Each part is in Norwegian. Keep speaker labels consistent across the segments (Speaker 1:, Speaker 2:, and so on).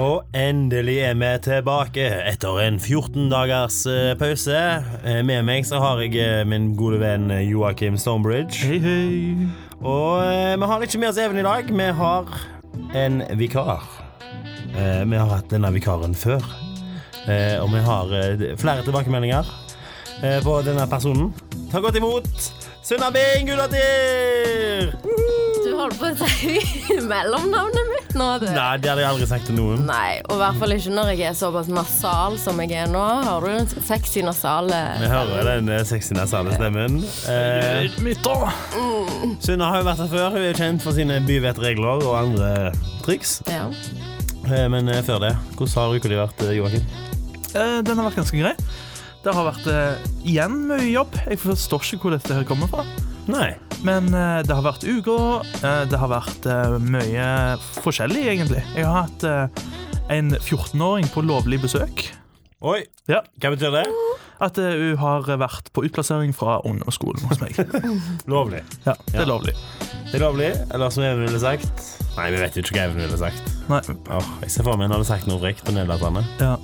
Speaker 1: Og endelig er vi tilbake etter en 14 dagers eh, pause. Eh, Med meg så har jeg eh, min gode venn Joakim Stonebridge.
Speaker 2: Hei, hei.
Speaker 1: Og eh, vi har ikke med oss Even i dag. Vi har en vikar. Eh, Vi har hatt denne vikaren før. Eh, Og vi har eh, flere tilbakemeldinger eh, på denne personen. Ta godt imot Sunna Bing Gulatir!
Speaker 3: Du holder på å si mellomnavnet mitt nå, du.
Speaker 1: Nei, det hadde jeg aldri sagt til noen.
Speaker 3: Nei, og i hvert fall ikke når jeg er såpass nasal som jeg er nå. Har du den sexy nasale
Speaker 1: Vi hører den eh, sexy nasale stemmen. Eh,
Speaker 2: Mitt da.
Speaker 1: Sunna har jo vært her før. Hun er kjent for sine byvettregler og andre triks.
Speaker 3: ja.
Speaker 1: Eh, Men eh, før det, hvordan har uka di vært, eh, Joakim?
Speaker 2: Eh, den har vært ganske grei. Det har vært eh, igjen mye jobb. Jeg forstår ikke hvor dette her kommer fra.
Speaker 1: Nei.
Speaker 2: Men eh, det har vært uker. Eh, det har vært eh, mye forskjellig, egentlig. Jeg har hatt eh, en 14-åring på lovlig besøk.
Speaker 1: Oi,
Speaker 2: Ja.
Speaker 1: hva betyr det?
Speaker 2: At eh, hun har vært på utplassering fra ungdomsskolen hos meg.
Speaker 1: Lovlig.
Speaker 2: Ja, Det
Speaker 1: Ja.
Speaker 2: er lovlig.
Speaker 1: Det er lovlig, eller som Even ville sagt Nei, vi vet jo ikke hva Even ville sagt.
Speaker 2: Nei,
Speaker 1: Åh, jeg ser for meg han hadde sagt noe frekt og nedlatende.
Speaker 2: ja,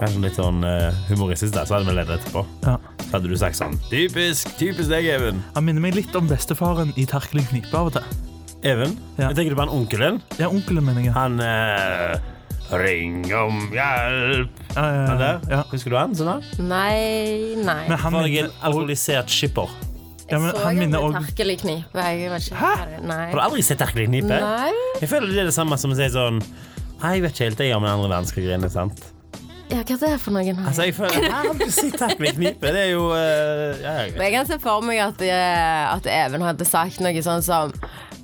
Speaker 1: Kanskje litt sånn eh, humoristisk, der, så hadde vi ledd etterpå.
Speaker 2: ja.
Speaker 1: Så hadde du sagt sånn Typisk, typisk deg, Even.
Speaker 2: Han minner meg litt om bestefaren i Terkelig knipe av og til.
Speaker 1: Even?
Speaker 2: Ja.
Speaker 1: Jeg tenker du på han onkelen?
Speaker 2: Ja, onkelen, mener jeg.
Speaker 1: Han eh, Ring om hjelp.
Speaker 2: Ja, ja,
Speaker 1: Han
Speaker 2: ja,
Speaker 1: der?
Speaker 2: ja.
Speaker 1: Husker du han? Sånn, da?
Speaker 3: Nei, nei.
Speaker 2: Men han
Speaker 1: Han er
Speaker 2: minner-
Speaker 1: en alkoholisert skipper.
Speaker 2: ja, men
Speaker 3: jeg så
Speaker 2: han
Speaker 3: en med
Speaker 2: minner også-
Speaker 3: terkelig knipe. Jeg vet ikke.
Speaker 2: Hæ?
Speaker 3: Hæ? Nei.
Speaker 1: Har du aldri sett Erkelig knipe?
Speaker 3: Nei.
Speaker 1: Jeg føler det er det samme som å si sånn Nei, jeg vet ikke helt jeg gjør med den andre verdenskrig-greiene, sant?
Speaker 3: Ja, hva er det for noen? her?
Speaker 1: Altså, jeg føler Her har du sett Erkelig knipe, det er jo eh, ja, jeg vet.
Speaker 3: Men jeg kan se for meg at, eh, at Even hadde sagt noe sånn som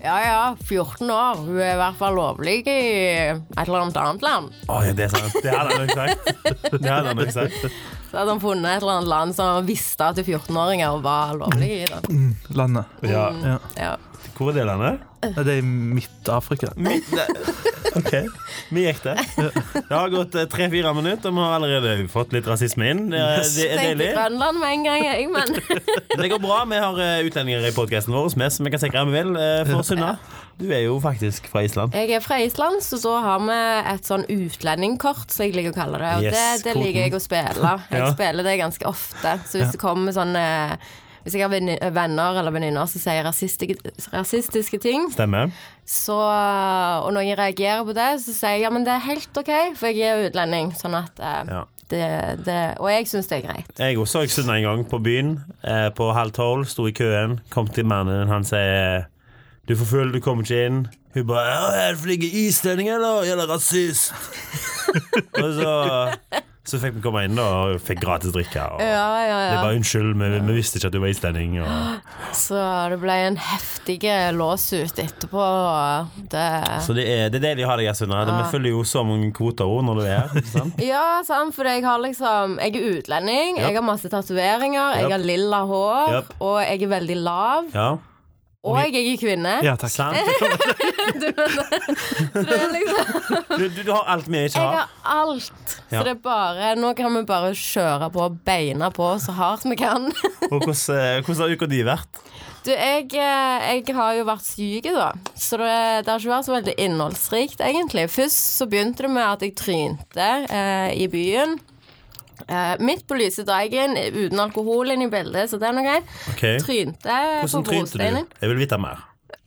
Speaker 3: ja ja, 14 år, hun er i hvert fall lovlig i et eller annet annet land.
Speaker 1: Å, ja, det er sant. Det hadde han nok sagt. Det hadde han nok sagt.
Speaker 3: Så hadde han funnet et eller annet land som han visste at 14-åringer var lovlige i. Da.
Speaker 2: landet.
Speaker 1: Ja.
Speaker 2: Ja.
Speaker 3: Ja.
Speaker 1: Hvor er det landet?
Speaker 2: Nei, Det er i Midt-Afrika.
Speaker 1: Mitt OK. Vi gikk det. Det har gått tre-fire minutter, og vi har allerede fått litt rasisme inn. Det er, det er
Speaker 3: Tenkte
Speaker 1: deilig.
Speaker 3: Grønland med en gang, jeg, men
Speaker 1: Det går bra. Vi har eh, utlendinger i podkasten vår med, som vi kan sikre om vi vil. Eh, For Sunna, du er jo faktisk fra Island.
Speaker 3: Jeg er fra Island, så så har vi et sånn utlendingkort, som jeg liker å kalle det. Og
Speaker 1: Yes,
Speaker 3: det, det
Speaker 1: koden.
Speaker 3: liker jeg å spille. Jeg
Speaker 1: Ja.
Speaker 3: spiller det ganske ofte. Så hvis det kommer sånn eh, Hvis jeg har venni- venner eller venninner som sier rasistiske, rasistiske ting,
Speaker 1: Stemmer.
Speaker 3: så, og noen reagerer på det, så sier jeg ja, men det er helt OK, for jeg er utlending. Sånn at eh,
Speaker 1: Ja.
Speaker 3: det, det Og jeg syns det er greit.
Speaker 1: Jeg også så Sunna en gang på byen. Eh, på halv tolv, sto i køen, kom til mannen, han sier 'Du er for full, du kommer ikke inn'. Hun bare 'Ja, er det flink islending, eller? Eller rasist?' og så, så fikk vi komme inn, da, og fikk gratis drikke. Og
Speaker 3: Ja, ja,
Speaker 1: Det
Speaker 3: ja.
Speaker 1: var unnskyld, men vi visste ikke at du var islending. Og...
Speaker 3: Så det ble en heftig låsut etterpå. Det
Speaker 1: Så det er, det er deilig å ha deg her, Sunna. Det- Vi følger jo så mange kvoteord når du er her. ikke sant?
Speaker 3: Ja, sant, for jeg har liksom Jeg er utlending, jeg har masse tatoveringer,
Speaker 1: Japp.
Speaker 3: jeg har lilla hår,
Speaker 1: Japp.
Speaker 3: og jeg er veldig lav,
Speaker 1: Ja.
Speaker 3: og jeg er kvinne.
Speaker 2: Ja, takk.
Speaker 1: Sant?
Speaker 3: Så det er liksom,
Speaker 1: Du, du, du har alt vi ikke
Speaker 3: jeg
Speaker 1: har.
Speaker 3: har alt.
Speaker 1: Ja.
Speaker 3: Så det er bare Nå kan vi bare kjøre på og beina på så hardt vi kan.
Speaker 1: Og hvordan, eh, hvordan har uka di vært?
Speaker 3: Du, jeg, eh, jeg har jo vært syk, da, så det, det har ikke vært så veldig innholdsrikt, egentlig. Først så begynte det med at jeg trynte eh, i byen. Eh, midt på lyse dagen, uten alkohol inn i bildet, så det er noe greit.
Speaker 1: Ok.
Speaker 3: Trynte
Speaker 1: Hvordan
Speaker 3: på
Speaker 1: trynte
Speaker 3: brosteinen.
Speaker 1: du? Jeg vil vite mer.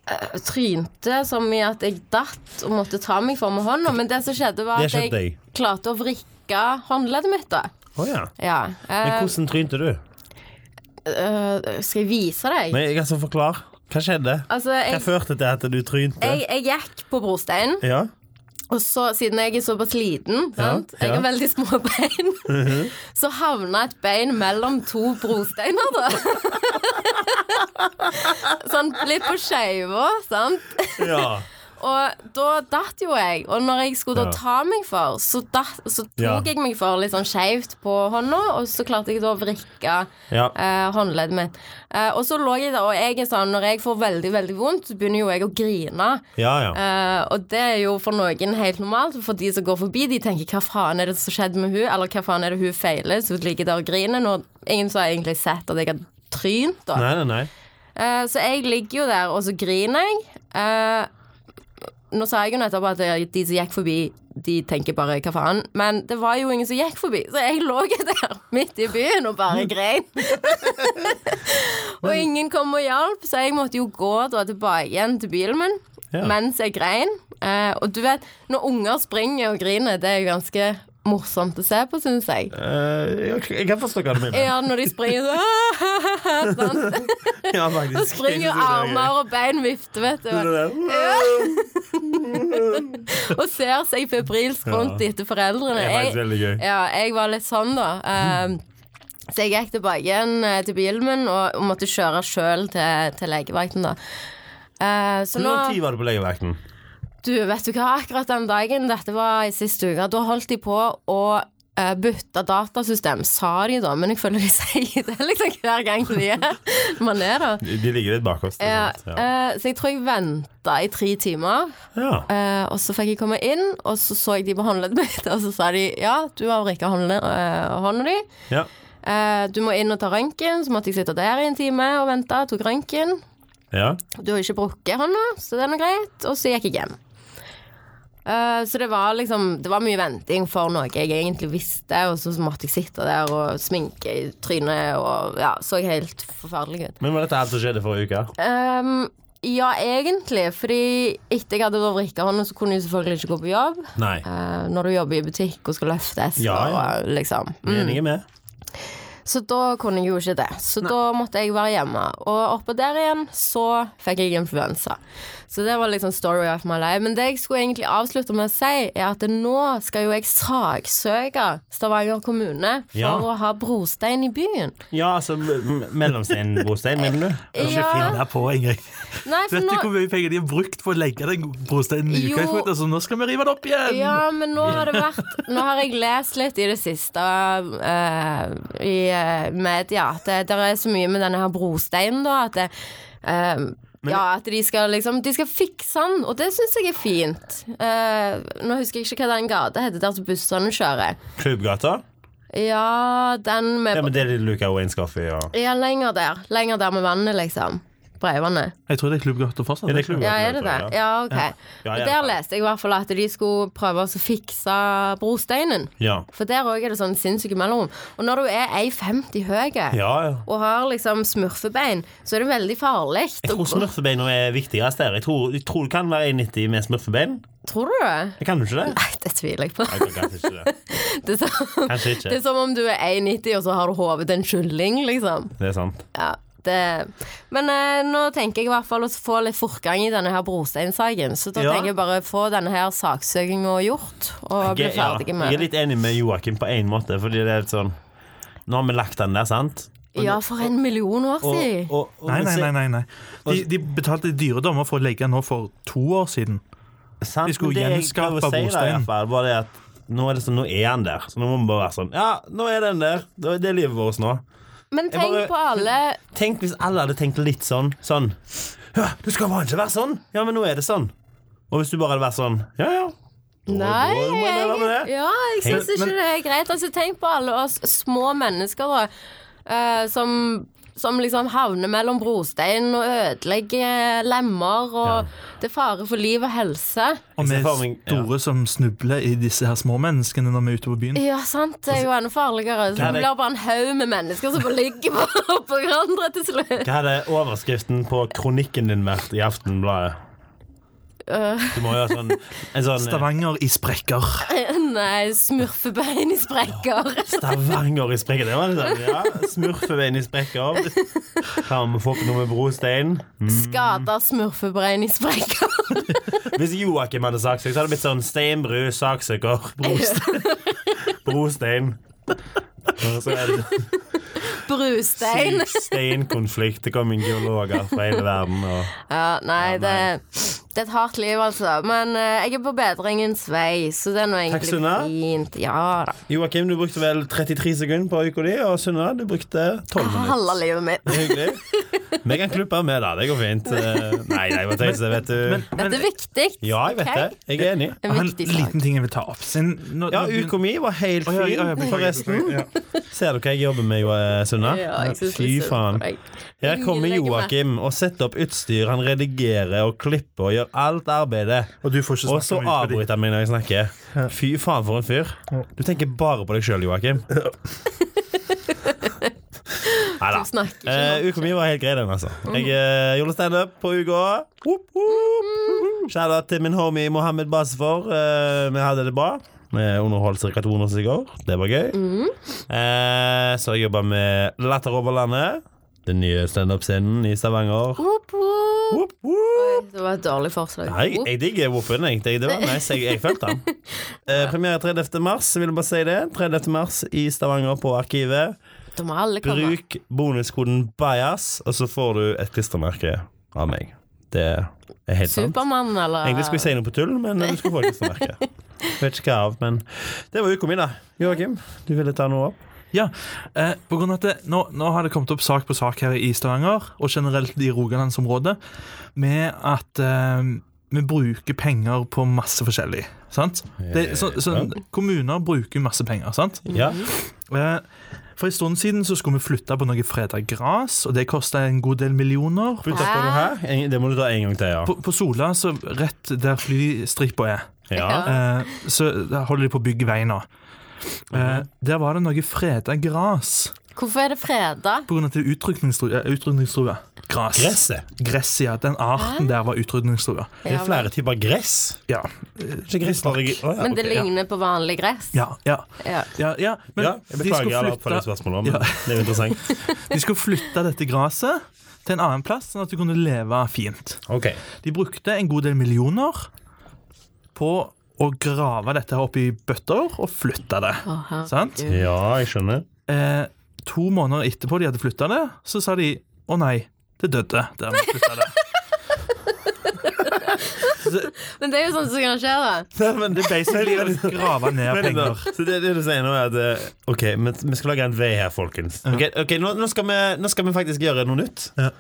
Speaker 3: Eh, Trynte som i at jeg datt og måtte ta meg for med hånda. Men det som skjedde, var
Speaker 1: Det
Speaker 3: at jeg
Speaker 1: skjønte jeg.
Speaker 3: klarte å vrikke håndleddet mitt. da
Speaker 1: Å ja.
Speaker 3: ja.
Speaker 1: Men
Speaker 3: eh,
Speaker 1: hvordan trynte du?
Speaker 3: eh, Skal jeg vise deg?
Speaker 1: Nei, jeg altså Forklar. Hva skjedde?
Speaker 3: Altså,
Speaker 1: Hva
Speaker 3: jeg,
Speaker 1: førte til at du trynte?
Speaker 3: jeg, jeg gikk på brosteinen.
Speaker 1: Ja.
Speaker 3: Og så, siden jeg er såpass liten,
Speaker 1: Ja,
Speaker 3: sant? jeg
Speaker 1: ja. Mhm.
Speaker 3: har veldig små bein, så havna et bein mellom to brosteiner, da. sånn litt på skeiva, sant.
Speaker 1: ja.
Speaker 3: Og da datt jo jeg. Og når jeg skulle
Speaker 1: Ja.
Speaker 3: da ta meg for, så, datt, så tok
Speaker 1: Ja.
Speaker 3: jeg meg for litt sånn skeivt på hånda, og så klarte jeg da å vrikke
Speaker 1: Ja.
Speaker 3: eh, håndleddet mitt. Eh, og så lå jeg der, og jeg er sånn, når jeg får veldig, veldig vondt, så begynner jo jeg å grine.
Speaker 1: Ja, ja.
Speaker 3: Eh, og det er jo for noen helt normalt. For de som går forbi, de tenker 'hva faen er det som skjedde med hun', eller 'hva faen er det hun feiler', så hun ligger der og griner. Når ingen som har egentlig sett at jeg har trynt, da.
Speaker 1: Nei, nei, nei.
Speaker 3: Eh, så jeg ligger jo der, og så griner jeg. Eh, Nå sa jeg jo nettopp at eh, de som gikk forbi, de tenker bare 'hva faen', men det var jo ingen som gikk forbi, så jeg lå jo der midt i byen og bare grein. og ingen kom og hjalp, så jeg måtte jo gå da tilbake igjen til bilen min
Speaker 1: Ja.
Speaker 3: mens jeg grein. Eh, og du vet, når unger springer og griner, det er jo ganske morsomt å se på, syns jeg.
Speaker 1: Eh, jeg, jeg kan forstå hva du mener.
Speaker 3: Ja, når de springer sånn. sant?
Speaker 1: Ja, faktisk.
Speaker 3: Så springer jo armer og bein vifter, vet du. Og ser seg febrilsk rundt
Speaker 1: Ja.
Speaker 3: etter foreldrene.
Speaker 1: Det er faktisk veldig gøy.
Speaker 3: ja, jeg var litt sånn, da. Ehm, så jeg gikk tilbake igjen eh, til bilen min og, og måtte kjøre sjøl til, til legevakten, da. Eh, så
Speaker 1: Hvor
Speaker 3: nå
Speaker 1: lang tid var du på legevakten?
Speaker 3: Du, vet du hva, akkurat den dagen, dette var i siste uke, da holdt de på å eh, bytte datasystem, sa de da, men jeg føler de sier det liksom hver gang de er man er der.
Speaker 1: De ligger litt bak oss. ikke
Speaker 3: Ja,
Speaker 1: sant? Ja.
Speaker 3: eh, så jeg tror jeg venta i tre timer,
Speaker 1: Ja.
Speaker 3: eh, og så fikk jeg komme inn, og så så jeg de på håndleddet mitt, og så sa de ja, du har vrikka håndle- eh, hånda di,
Speaker 1: Ja.
Speaker 3: eh, du må inn og ta røntgen, så måtte jeg sitte der i en time og vente, tok røntgen.
Speaker 1: ja.
Speaker 3: Du har ikke brukket hånda, så det er noe greit. Og så gikk jeg hjem. Eh, så det var liksom Det var mye venting for noe jeg egentlig visste, og så måtte jeg sitte der og sminke i trynet og ja, så helt forferdelig ut.
Speaker 1: Men var dette alt som skjedde forrige uke?
Speaker 3: Ehm, ja, egentlig, fordi etter jeg hadde vært vrikka hånda, så kunne jeg selvfølgelig ikke gå på jobb.
Speaker 1: Nei.
Speaker 3: Eh, når du jobber i butikk og skal løftes
Speaker 1: Ja, Mm. ja.
Speaker 3: og liksom.
Speaker 1: Meningen er med.
Speaker 3: Så da kunne jeg jo ikke det. Så da måtte jeg være hjemme. Og oppå der igjen så fikk jeg influensa. Så det var liksom story of my life. Men det jeg skulle egentlig avslutte med å si, er at nå skal jo jeg saksøke Stavanger kommune for
Speaker 1: Ja.
Speaker 3: å ha brostein i byen.
Speaker 1: Ja, altså m- m- mellomstein-brostein, mener du?
Speaker 2: Ikke finn deg på engang.
Speaker 3: Nei, for
Speaker 2: Vet du
Speaker 3: nå
Speaker 2: hvor mye penger de har brukt på å legge den brosteinen i
Speaker 3: Jo.
Speaker 2: utgangspunktet? Altså, nå skal vi rive det opp igjen!
Speaker 3: Ja, men nå har det vært Nå har jeg lest litt i det siste eh, i eh, media at det der er så mye med denne her brosteinen, da, at det eh, ja, at de skal liksom De skal fikse den, og det syns jeg er fint. Eh, nå husker jeg ikke hva den gata heter der som bussene kjører.
Speaker 1: Klubbgata?
Speaker 3: Ja, den med
Speaker 1: Ja, men det er litt Luca Waynes kaffe og
Speaker 3: Ja, lenger der. Lenger der med vannet, liksom. Breivannet.
Speaker 2: Jeg tror det er klubbgata fortsatt.
Speaker 1: Er det klubbgata?
Speaker 3: Ja, er det det? Ja, OK.
Speaker 1: Ja,
Speaker 3: Og
Speaker 1: i alle
Speaker 3: der
Speaker 1: fall.
Speaker 3: leste jeg i hvert fall at de skulle prøve å fikse brosteinen.
Speaker 1: Ja.
Speaker 3: For der òg er det sånn sinnssyke mellomrom. Og når du er 1,50 høy
Speaker 1: Ja, ja.
Speaker 3: og har liksom smurfebein, så er det veldig farlig.
Speaker 1: Jeg tror smurfebein nå er viktigst der. Jeg tror, jeg tror du kan være 1,90 med smurfebein.
Speaker 3: Tror du det?
Speaker 1: Jeg kan du ikke det?
Speaker 3: Nei, det tviler jeg på.
Speaker 1: Jeg kan kanskje ikke det.
Speaker 3: Det er, som,
Speaker 1: Kanskje
Speaker 3: det
Speaker 1: ikke.
Speaker 3: er som om du er 1,90 og så har du hodet til en kylling, liksom.
Speaker 1: Det er sant.
Speaker 3: Ja, det. Men eh, nå tenker jeg i hvert fall å få litt fortgang i denne her brosteinsaken. Så da
Speaker 1: Ja.
Speaker 3: tenker jeg bare få denne her saksøkinga gjort, og bli
Speaker 1: Jeg, ja,
Speaker 3: ferdig
Speaker 1: jeg
Speaker 3: med
Speaker 1: er litt enig med Joakim på én måte, fordi det er litt sånn Nå har vi lagt den der, sant?
Speaker 3: Ja, for en million år
Speaker 1: Og,
Speaker 3: siden.
Speaker 1: og, og,
Speaker 2: Nei, nei, nei. nei, nei. De, de betalte dyre dommer for å legge den nå for to år siden.
Speaker 1: Sant,
Speaker 2: Vi
Speaker 1: men
Speaker 2: skulle
Speaker 1: det jeg prøver
Speaker 2: gjenskape
Speaker 1: å si da, i
Speaker 2: Bostein.
Speaker 1: hvert fall, Var det at nå er, det sånn, nå er han der, så nå må vi bare være sånn Ja, nå er den der. Det er livet vårt nå.
Speaker 3: Men
Speaker 1: jeg
Speaker 3: tenk
Speaker 1: bare-
Speaker 3: på alle
Speaker 1: Tenk hvis alle hadde tenkt litt sånn. Sånn. Ja, du skal bare ikke være sånn. Ja, men nå er det sånn. Og hvis du bare hadde vært sånn. Ja, ja. Da-
Speaker 3: Nei,
Speaker 1: da må jeg leve med det.
Speaker 3: jeg, ja, jeg syns
Speaker 2: Tenk-
Speaker 3: ikke
Speaker 2: men-
Speaker 3: det er greit. Altså, tenk på alle oss små mennesker da, eh, som, som liksom havner mellom brostein og ødelegger lemmer, og det er fare for liv og helse.
Speaker 2: Og
Speaker 1: Jeg
Speaker 2: vi
Speaker 1: ser for meg- ja.
Speaker 2: store som snubler i disse her små menneskene når vi er ute på byen.
Speaker 3: Ja, sant. Det er jo enda farligere. Så
Speaker 1: Ja,
Speaker 3: det
Speaker 1: det-
Speaker 3: blir bare en haug med mennesker som bare ligger på, på hverandre til slutt.
Speaker 1: Hva hadde overskriften på kronikken din vært i Aftenbladet? Du må jo ha sånn en sånn eh,
Speaker 2: Stavanger i sprekker.
Speaker 3: Eh, Nei, smurfebein i sprekker.
Speaker 1: Stavanger i sprekker. Det var litt sånn, ja. Smurfebein i sprekker. Kan vi få på noe med brostein?
Speaker 3: Skada smurfebein i sprekker.
Speaker 1: Hvis Joakim hadde saksøkt, så hadde det blitt sånn steinbru, saksøker, brostein. brostein. Og så er det
Speaker 3: Brustein.
Speaker 1: syk steinkonflikt. Det kom inn geologer fra hele verden. Og
Speaker 3: Ja, nei, det,
Speaker 1: nei.
Speaker 3: det er et hardt liv, altså. Men eh, jeg er på bedringens vei, så det er nå egentlig
Speaker 1: Sunna.
Speaker 3: fint. Ja da.
Speaker 1: Joakim, du brukte vel 33 sekunder på uka di, og Sunna, du brukte 12 minutter.
Speaker 3: Halve livet mitt.
Speaker 1: Det er hyggelig. Vi kan klippe med det, det går fint. Eh, Nei, nei, hva tenkte jeg, vet
Speaker 2: Men,
Speaker 1: du.
Speaker 3: Dette
Speaker 2: men
Speaker 3: er viktig.
Speaker 1: Ja, jeg vet
Speaker 3: ok?
Speaker 1: det. Jeg er enig.
Speaker 3: En
Speaker 2: en
Speaker 3: viktig sak.
Speaker 2: liten ting jeg vil ta opp. Siden, nå,
Speaker 1: Ja,
Speaker 2: nå begyn-
Speaker 1: uka mi var helt
Speaker 2: Oi, oi, oi, jeg
Speaker 1: fin,
Speaker 2: beklager,
Speaker 1: forresten.
Speaker 2: beklager, ja.
Speaker 1: Ser du hva jeg jobber med, jo, eh, Sunna?
Speaker 3: Ja, jeg synes
Speaker 1: Fy
Speaker 3: det er
Speaker 1: faen.
Speaker 3: synd på deg.
Speaker 1: Her kommer
Speaker 3: Legger meg.
Speaker 1: Joakim og setter opp utstyr. Han redigerer og klipper og gjør alt arbeidet.
Speaker 2: Og du får ikke
Speaker 1: Og så
Speaker 2: snakke om utbytte.
Speaker 1: avbryter han meg når jeg snakker. Fy faen, for en fyr. Du tenker bare på deg sjøl, Joakim. Nei da.
Speaker 3: Du snakker ikke
Speaker 1: Eh,
Speaker 3: nok. Mhm.
Speaker 1: uka mi var helt grei, den, altså. Jeg eh, gjorde standup på uka. Whoop,
Speaker 3: Mhm.
Speaker 1: whoop. Shout-out til min homie Mohammed Basfor. Eh, vi hadde det bra. Vi underholdt ca. 200 stykker i går. Det var gøy.
Speaker 3: Mhm.
Speaker 1: Eh, så jeg jobba med Latter over landet. Den nye standup-scenen i Stavanger.
Speaker 3: Whoop, whoop.
Speaker 1: Whoop, whoop.
Speaker 3: Det var et dårlig forslag.
Speaker 1: Nei, jeg, jeg digger Woffen. Jeg, det, det var nice. Jeg, jeg følte den. Eh, premiere 30. mars, jeg vil bare si det. 30. mars i Stavanger på Arkivet.
Speaker 3: Da må alle komme.
Speaker 1: Bruk bonuskoden BIAS, og så får du et klistremerke av meg. Det er helt sant.
Speaker 3: Supermann, eller
Speaker 1: Egentlig skulle jeg si noe på tull, men du skulle få et klistremerke. Vet ikke hva av, men det var uka mi, da. Joakim, du ville ta noe opp?
Speaker 2: Ja, eh, på grunn av at det, nå, nå har det kommet opp sak på sak her i Stavanger, og generelt i Rogalandsområdet, med at eh, vi bruker penger på masse forskjellig. Sant? Det, så, så, kommuner bruker masse penger, sant?
Speaker 1: Ja.
Speaker 2: Eh, For en stund siden så skulle vi flytte på noe freda gras, og det kosta en god del millioner.
Speaker 1: Putt opp noe her. En- Det må du ta en gang til, ja.
Speaker 2: På, på Sola, så rett der flystripa er,
Speaker 1: ja.
Speaker 2: eh, så der holder de på å bygge vei nå. Eh, der var det noe freda gras
Speaker 3: Hvorfor er det freda?
Speaker 2: på grunn av at det er utrydningstrua. eh, utrydningstrua. Gras.
Speaker 1: Gresset.
Speaker 2: Gress, ja. Den arten der var utrydningstrua.
Speaker 1: Det er flere typer gress.
Speaker 2: Ja.
Speaker 1: Ikke gress
Speaker 2: Visstnok.
Speaker 1: bare- Å, ja,
Speaker 3: Men det
Speaker 1: ok, ja.
Speaker 3: ligner på vanlig gress.
Speaker 2: Ja, ja,
Speaker 3: Ja.
Speaker 2: ja, ja. Men
Speaker 1: ja, jeg
Speaker 2: de,
Speaker 1: beklager
Speaker 2: skulle
Speaker 1: alle på det
Speaker 2: flytte,
Speaker 1: spørsmålet, men
Speaker 2: Ja.
Speaker 1: det er jo interessant.
Speaker 2: de skulle flytte dette graset til en annen plass, sånn at du kunne leve fint.
Speaker 1: Ok,
Speaker 2: De brukte en god del millioner på å grave dette her opp i bøtter og flytte det.
Speaker 3: Å, herregud.
Speaker 2: Sant?
Speaker 1: Ja, jeg skjønner.
Speaker 2: Eh, to måneder etterpå de hadde flytta det, så sa de å nei, det døde. Der vi flyttet det.
Speaker 3: Men det er jo sånt som kan skje, da.
Speaker 1: Men det er basically
Speaker 2: Å Grave ned
Speaker 1: Men da,
Speaker 2: penger.
Speaker 1: så det, det du sier nå er at eh, OK, men vi skal lage en vei her, folkens. Ok, ok, nå, nå, skal vi, nå skal vi faktisk gjøre noe nytt.
Speaker 2: Ja.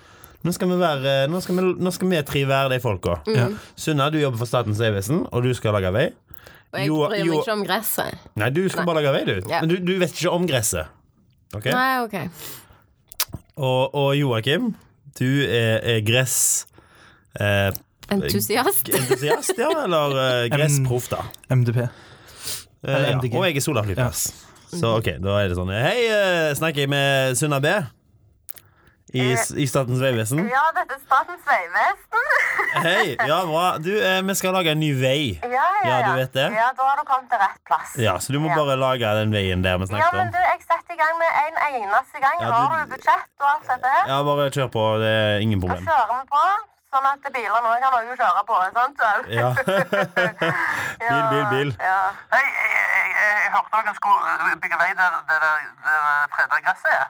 Speaker 1: Nå skal vi være Nå skal vi, nå skal vi tre være de folka.
Speaker 3: Mm.
Speaker 2: Ja.
Speaker 1: Sunna, du jobber for Statens vegvesen, og du skal lage vei.
Speaker 3: Og jeg
Speaker 1: Jo-
Speaker 3: bryr meg
Speaker 1: jo-
Speaker 3: ikke om gresset.
Speaker 1: Nei, du skal bare lage vei, du.
Speaker 3: Ja.
Speaker 1: Men du, du vet ikke om gresset. Ok?
Speaker 3: Nei, OK.
Speaker 1: Og, og Joakim, du er, er gress... Eh,
Speaker 3: Entusiast.
Speaker 1: entusiast, ja? Eller eh, gressproff, da.
Speaker 2: MDP.
Speaker 1: Eh,
Speaker 2: Eller
Speaker 1: ja.
Speaker 2: MDG.
Speaker 1: Og jeg er Sola flyplass. Så ok, da er det sånn Hei, eh, snakker jeg med Sunna B? I, I Statens vegvesen?
Speaker 4: Ja, dette er Statens vegvesen.
Speaker 1: Hei, ja bra. Du, eh, vi skal lage en ny vei.
Speaker 4: Ja, ja,
Speaker 1: Ja, du vet det.
Speaker 4: Ja, Da har du kommet til rett plass.
Speaker 1: Ja, Så du må
Speaker 4: Ja.
Speaker 1: bare lage den veien der vi
Speaker 4: Ja,
Speaker 1: snakket
Speaker 4: men
Speaker 1: om.
Speaker 4: du, jeg setter i gang med en eneste
Speaker 1: Ja,
Speaker 4: gang.
Speaker 1: du-
Speaker 4: Har du budsjett og alt dette her?
Speaker 1: Ja, bare kjør på. Det er ingen
Speaker 4: Da
Speaker 1: problem.
Speaker 4: kjører vi på, sånn at biler nå kan noen kjøre på. sant? Bil,
Speaker 1: Ja. Bil, bil, bil.
Speaker 4: Ja.
Speaker 5: Hei, jeg, jeg, jeg, jeg hørte dere skulle bygge vei der, der, der, der Fredagresset er.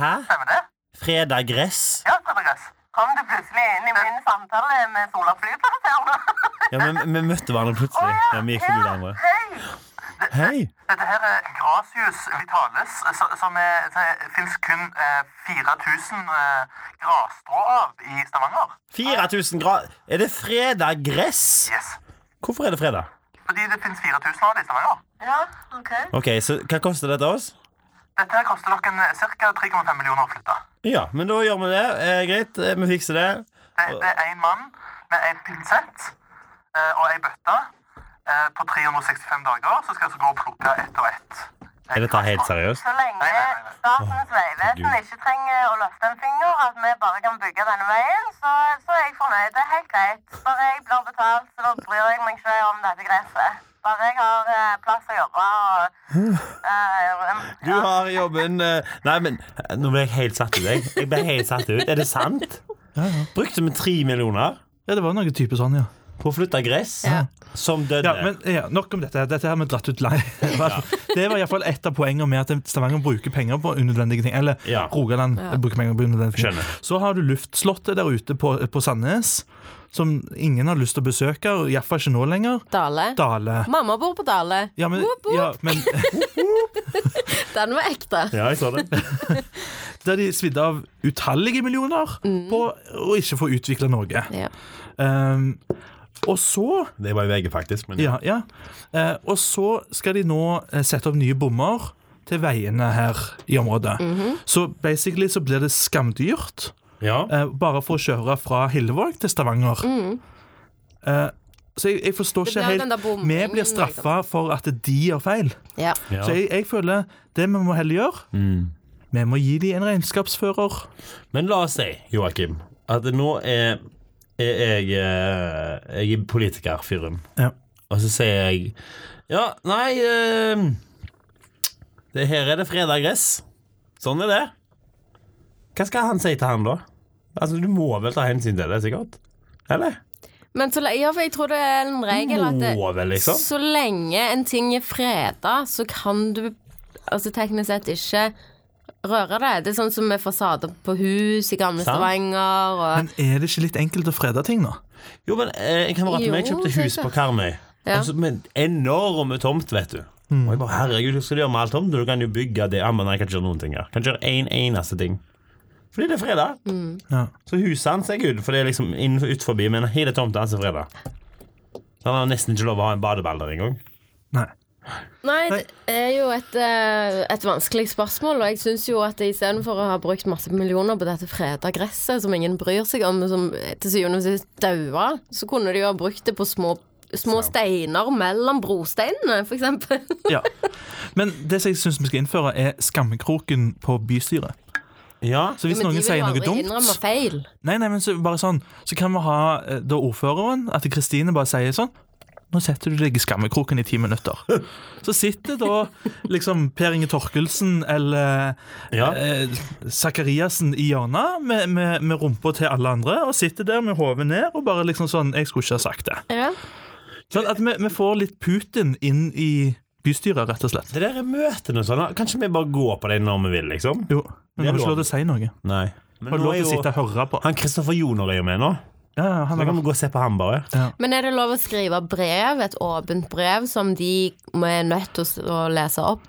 Speaker 1: Hæ?
Speaker 5: Stemmer det?
Speaker 1: Fredag gress?
Speaker 5: Ja, Fredagress.
Speaker 4: Kom du plutselig inn i min samtale med Sola flyplass her nå?
Speaker 1: Ja, men vi møtte hverandre plutselig. Ja, Vi gikk forbi hverandre.
Speaker 4: Hei!
Speaker 1: Hei!
Speaker 5: Dette her er Grasius Vitalis, eh, så- som er, det finnes kun eh, 4000 eh, grasstrå av i Stavanger.
Speaker 1: 4000 grad Er det fredag gress?
Speaker 5: Yes.
Speaker 1: Hvorfor er det fredag?
Speaker 5: Fordi det finnes 4000 av det i Stavanger.
Speaker 4: Ja, OK.
Speaker 1: Ok, så Hva koster dette oss?
Speaker 5: Dette her koster dere eh, ca. 3,5 millioner å flytte.
Speaker 1: Ja, men da gjør vi det. Eh, greit, eh, vi fikser det.
Speaker 5: Det, det er en mann med en pinsett eh, og en bøtte eh, på 365 dager, så skal jeg altså gå og plukke ett og ett.
Speaker 1: Er dette helt seriøst?
Speaker 4: Så lenge
Speaker 5: Nei, nei, nei, nei.
Speaker 4: Statens vegvesen
Speaker 1: Gud.
Speaker 4: ikke trenger å løfte en finger, at vi bare kan bygge denne veien, så, så er jeg fornøyd. Det er helt greit. For jeg blir betalt, så da bryr jeg meg ikke om dette gresset. Bare jeg har eh, plass å jobbe og eh, um,
Speaker 1: Du har jobben eh, Nei, men eh, nå ble jeg helt satt ut. Jeg, jeg ble helt satt ut. Er det sant?
Speaker 2: Ja, ja.
Speaker 1: Brukte vi tre millioner
Speaker 2: ja, det var noe type sånn, ja.
Speaker 1: på å flytte gress
Speaker 3: Ja.
Speaker 1: som
Speaker 2: ja
Speaker 1: døde?
Speaker 2: men ja, Nok om dette. Dette her har vi dratt ut lei. Det var iallfall et av poengene med at Stavanger bruker penger på unødvendige ting. Eller
Speaker 1: Ja.
Speaker 2: Rogaland bruker penger på unødvendige ting.
Speaker 1: Skjønner.
Speaker 2: Så har du Luftslottet der ute på, på Sandnes, som ingen har lyst til å besøke, og iallfall ikke nå lenger.
Speaker 3: Dale.
Speaker 2: Dale.
Speaker 3: Mamma bor på Dale.
Speaker 2: Ja, men,
Speaker 3: Whoop, whoop.
Speaker 2: ja, men
Speaker 3: Den var ekte.
Speaker 1: Ja, jeg så det.
Speaker 2: Der de svidde av utallige millioner på å ikke få utvikla noe.
Speaker 3: Ja.
Speaker 2: Ehm, og så
Speaker 1: Det var jo VG, faktisk. Men
Speaker 2: Ja, ja. Eh, og så skal de nå eh, sette opp nye bommer til veiene her i området.
Speaker 3: Mhm.
Speaker 2: Så basically så blir det skamdyrt
Speaker 1: Ja.
Speaker 2: eh, bare for å kjøre fra Hillevåg til Stavanger. Eh, så jeg, jeg forstår
Speaker 3: Mm. Det
Speaker 2: ikke
Speaker 3: blir den der liksom.
Speaker 2: helt
Speaker 3: bomringen,
Speaker 2: Vi blir straffa for at de gjør feil.
Speaker 3: Ja.
Speaker 1: Ja.
Speaker 2: Så jeg, jeg føler det vi må heller gjøre Vi må gi dem en regnskapsfører.
Speaker 1: Men la oss si, Joakim, at nå er, er jeg, eh, jeg er politikerfyren.
Speaker 2: Ja.
Speaker 1: Og så sier jeg Ja, nei eh, det Her er det freda gress. Sånn er det. Hva skal han si til han, da? Altså, Du må vel ta hensyn til det, sikkert? Eller?
Speaker 3: Men så, le- ja, for jeg tror det er en regel at det,
Speaker 1: Må vel, liksom?
Speaker 3: så lenge en ting er freda, så kan du altså teknisk sett ikke røre det. Det er sånn som med fasader på hus i gamle
Speaker 1: Sant.
Speaker 3: Stavanger og
Speaker 2: Men er det ikke litt enkelt å frede ting, da?
Speaker 1: Jo, men eh, en kamerat av meg
Speaker 3: Jo,
Speaker 1: kjøpte hus
Speaker 3: sikkert.
Speaker 1: på Karmøy.
Speaker 3: Ja.
Speaker 1: Altså, med enorme tomt, vet du.
Speaker 2: Mm.
Speaker 1: Og jeg bare, herregud, hva skal du gjøre med all tomt? Du kan jo bygge det. Ja, men jeg kan ikke gjøre noen ting her. Kan ikke gjøre en eneste ting. Fordi det er fredag.
Speaker 3: Mm.
Speaker 2: Ja.
Speaker 1: Så huset hans er good, for det er liksom innenfor ut forbi, men hele tomten hans er fredag. Så han har nesten ikke lov å ha en badeball der engang.
Speaker 2: Nei.
Speaker 3: Nei,
Speaker 2: Nei.
Speaker 3: det er jo et, eh, et vanskelig spørsmål, og jeg syns jo at istedenfor å ha brukt masse millioner på dette freda gresset som ingen bryr seg om, men som til syvende og sist dauer, så kunne de jo ha brukt det på små, små steiner mellom brosteinene, for eksempel.
Speaker 2: Ja. Men det som jeg syns vi skal innføre, er skammekroken på bystyret.
Speaker 1: Ja.
Speaker 2: Så hvis
Speaker 3: Men
Speaker 2: noen sier noe
Speaker 3: De vil jo aldri innrømme
Speaker 2: dumt,
Speaker 3: feil.
Speaker 2: nei, nei, men så, bare sånn, så kan vi ha eh, da ordføreren, at Kristine bare sier sånn nå setter du deg i skammekroken i ti minutter. Så sitter da liksom Per Inge Torkelsen eller
Speaker 1: Ja.
Speaker 2: eh, Sakariassen i hjørnet med, med, med rumpa til alle andre og sitter der med hodet ned og bare liksom sånn 'Jeg skulle ikke ha sagt det'.
Speaker 3: Ja.
Speaker 2: Sånn at vi, vi får litt Putin inn i bystyret, rett og slett.
Speaker 1: Det der er møtene og sånn. da. Kanskje vi bare går på det når vi vil, liksom?
Speaker 2: Jo,
Speaker 1: Det er
Speaker 2: men har du ikke
Speaker 1: lov.
Speaker 2: lov til å si noe?
Speaker 1: Nei. Men
Speaker 2: Har du
Speaker 1: nå
Speaker 2: lov
Speaker 1: er
Speaker 2: til å
Speaker 1: jo
Speaker 2: sitte og høre på?
Speaker 1: han Kristoffer Joner er jo med nå.
Speaker 2: Ja, ja, han
Speaker 1: Da
Speaker 2: er
Speaker 1: kan vi gå og se på han bare.
Speaker 3: Men er det lov å skrive brev, et åpent brev, som de er nødt til å lese opp?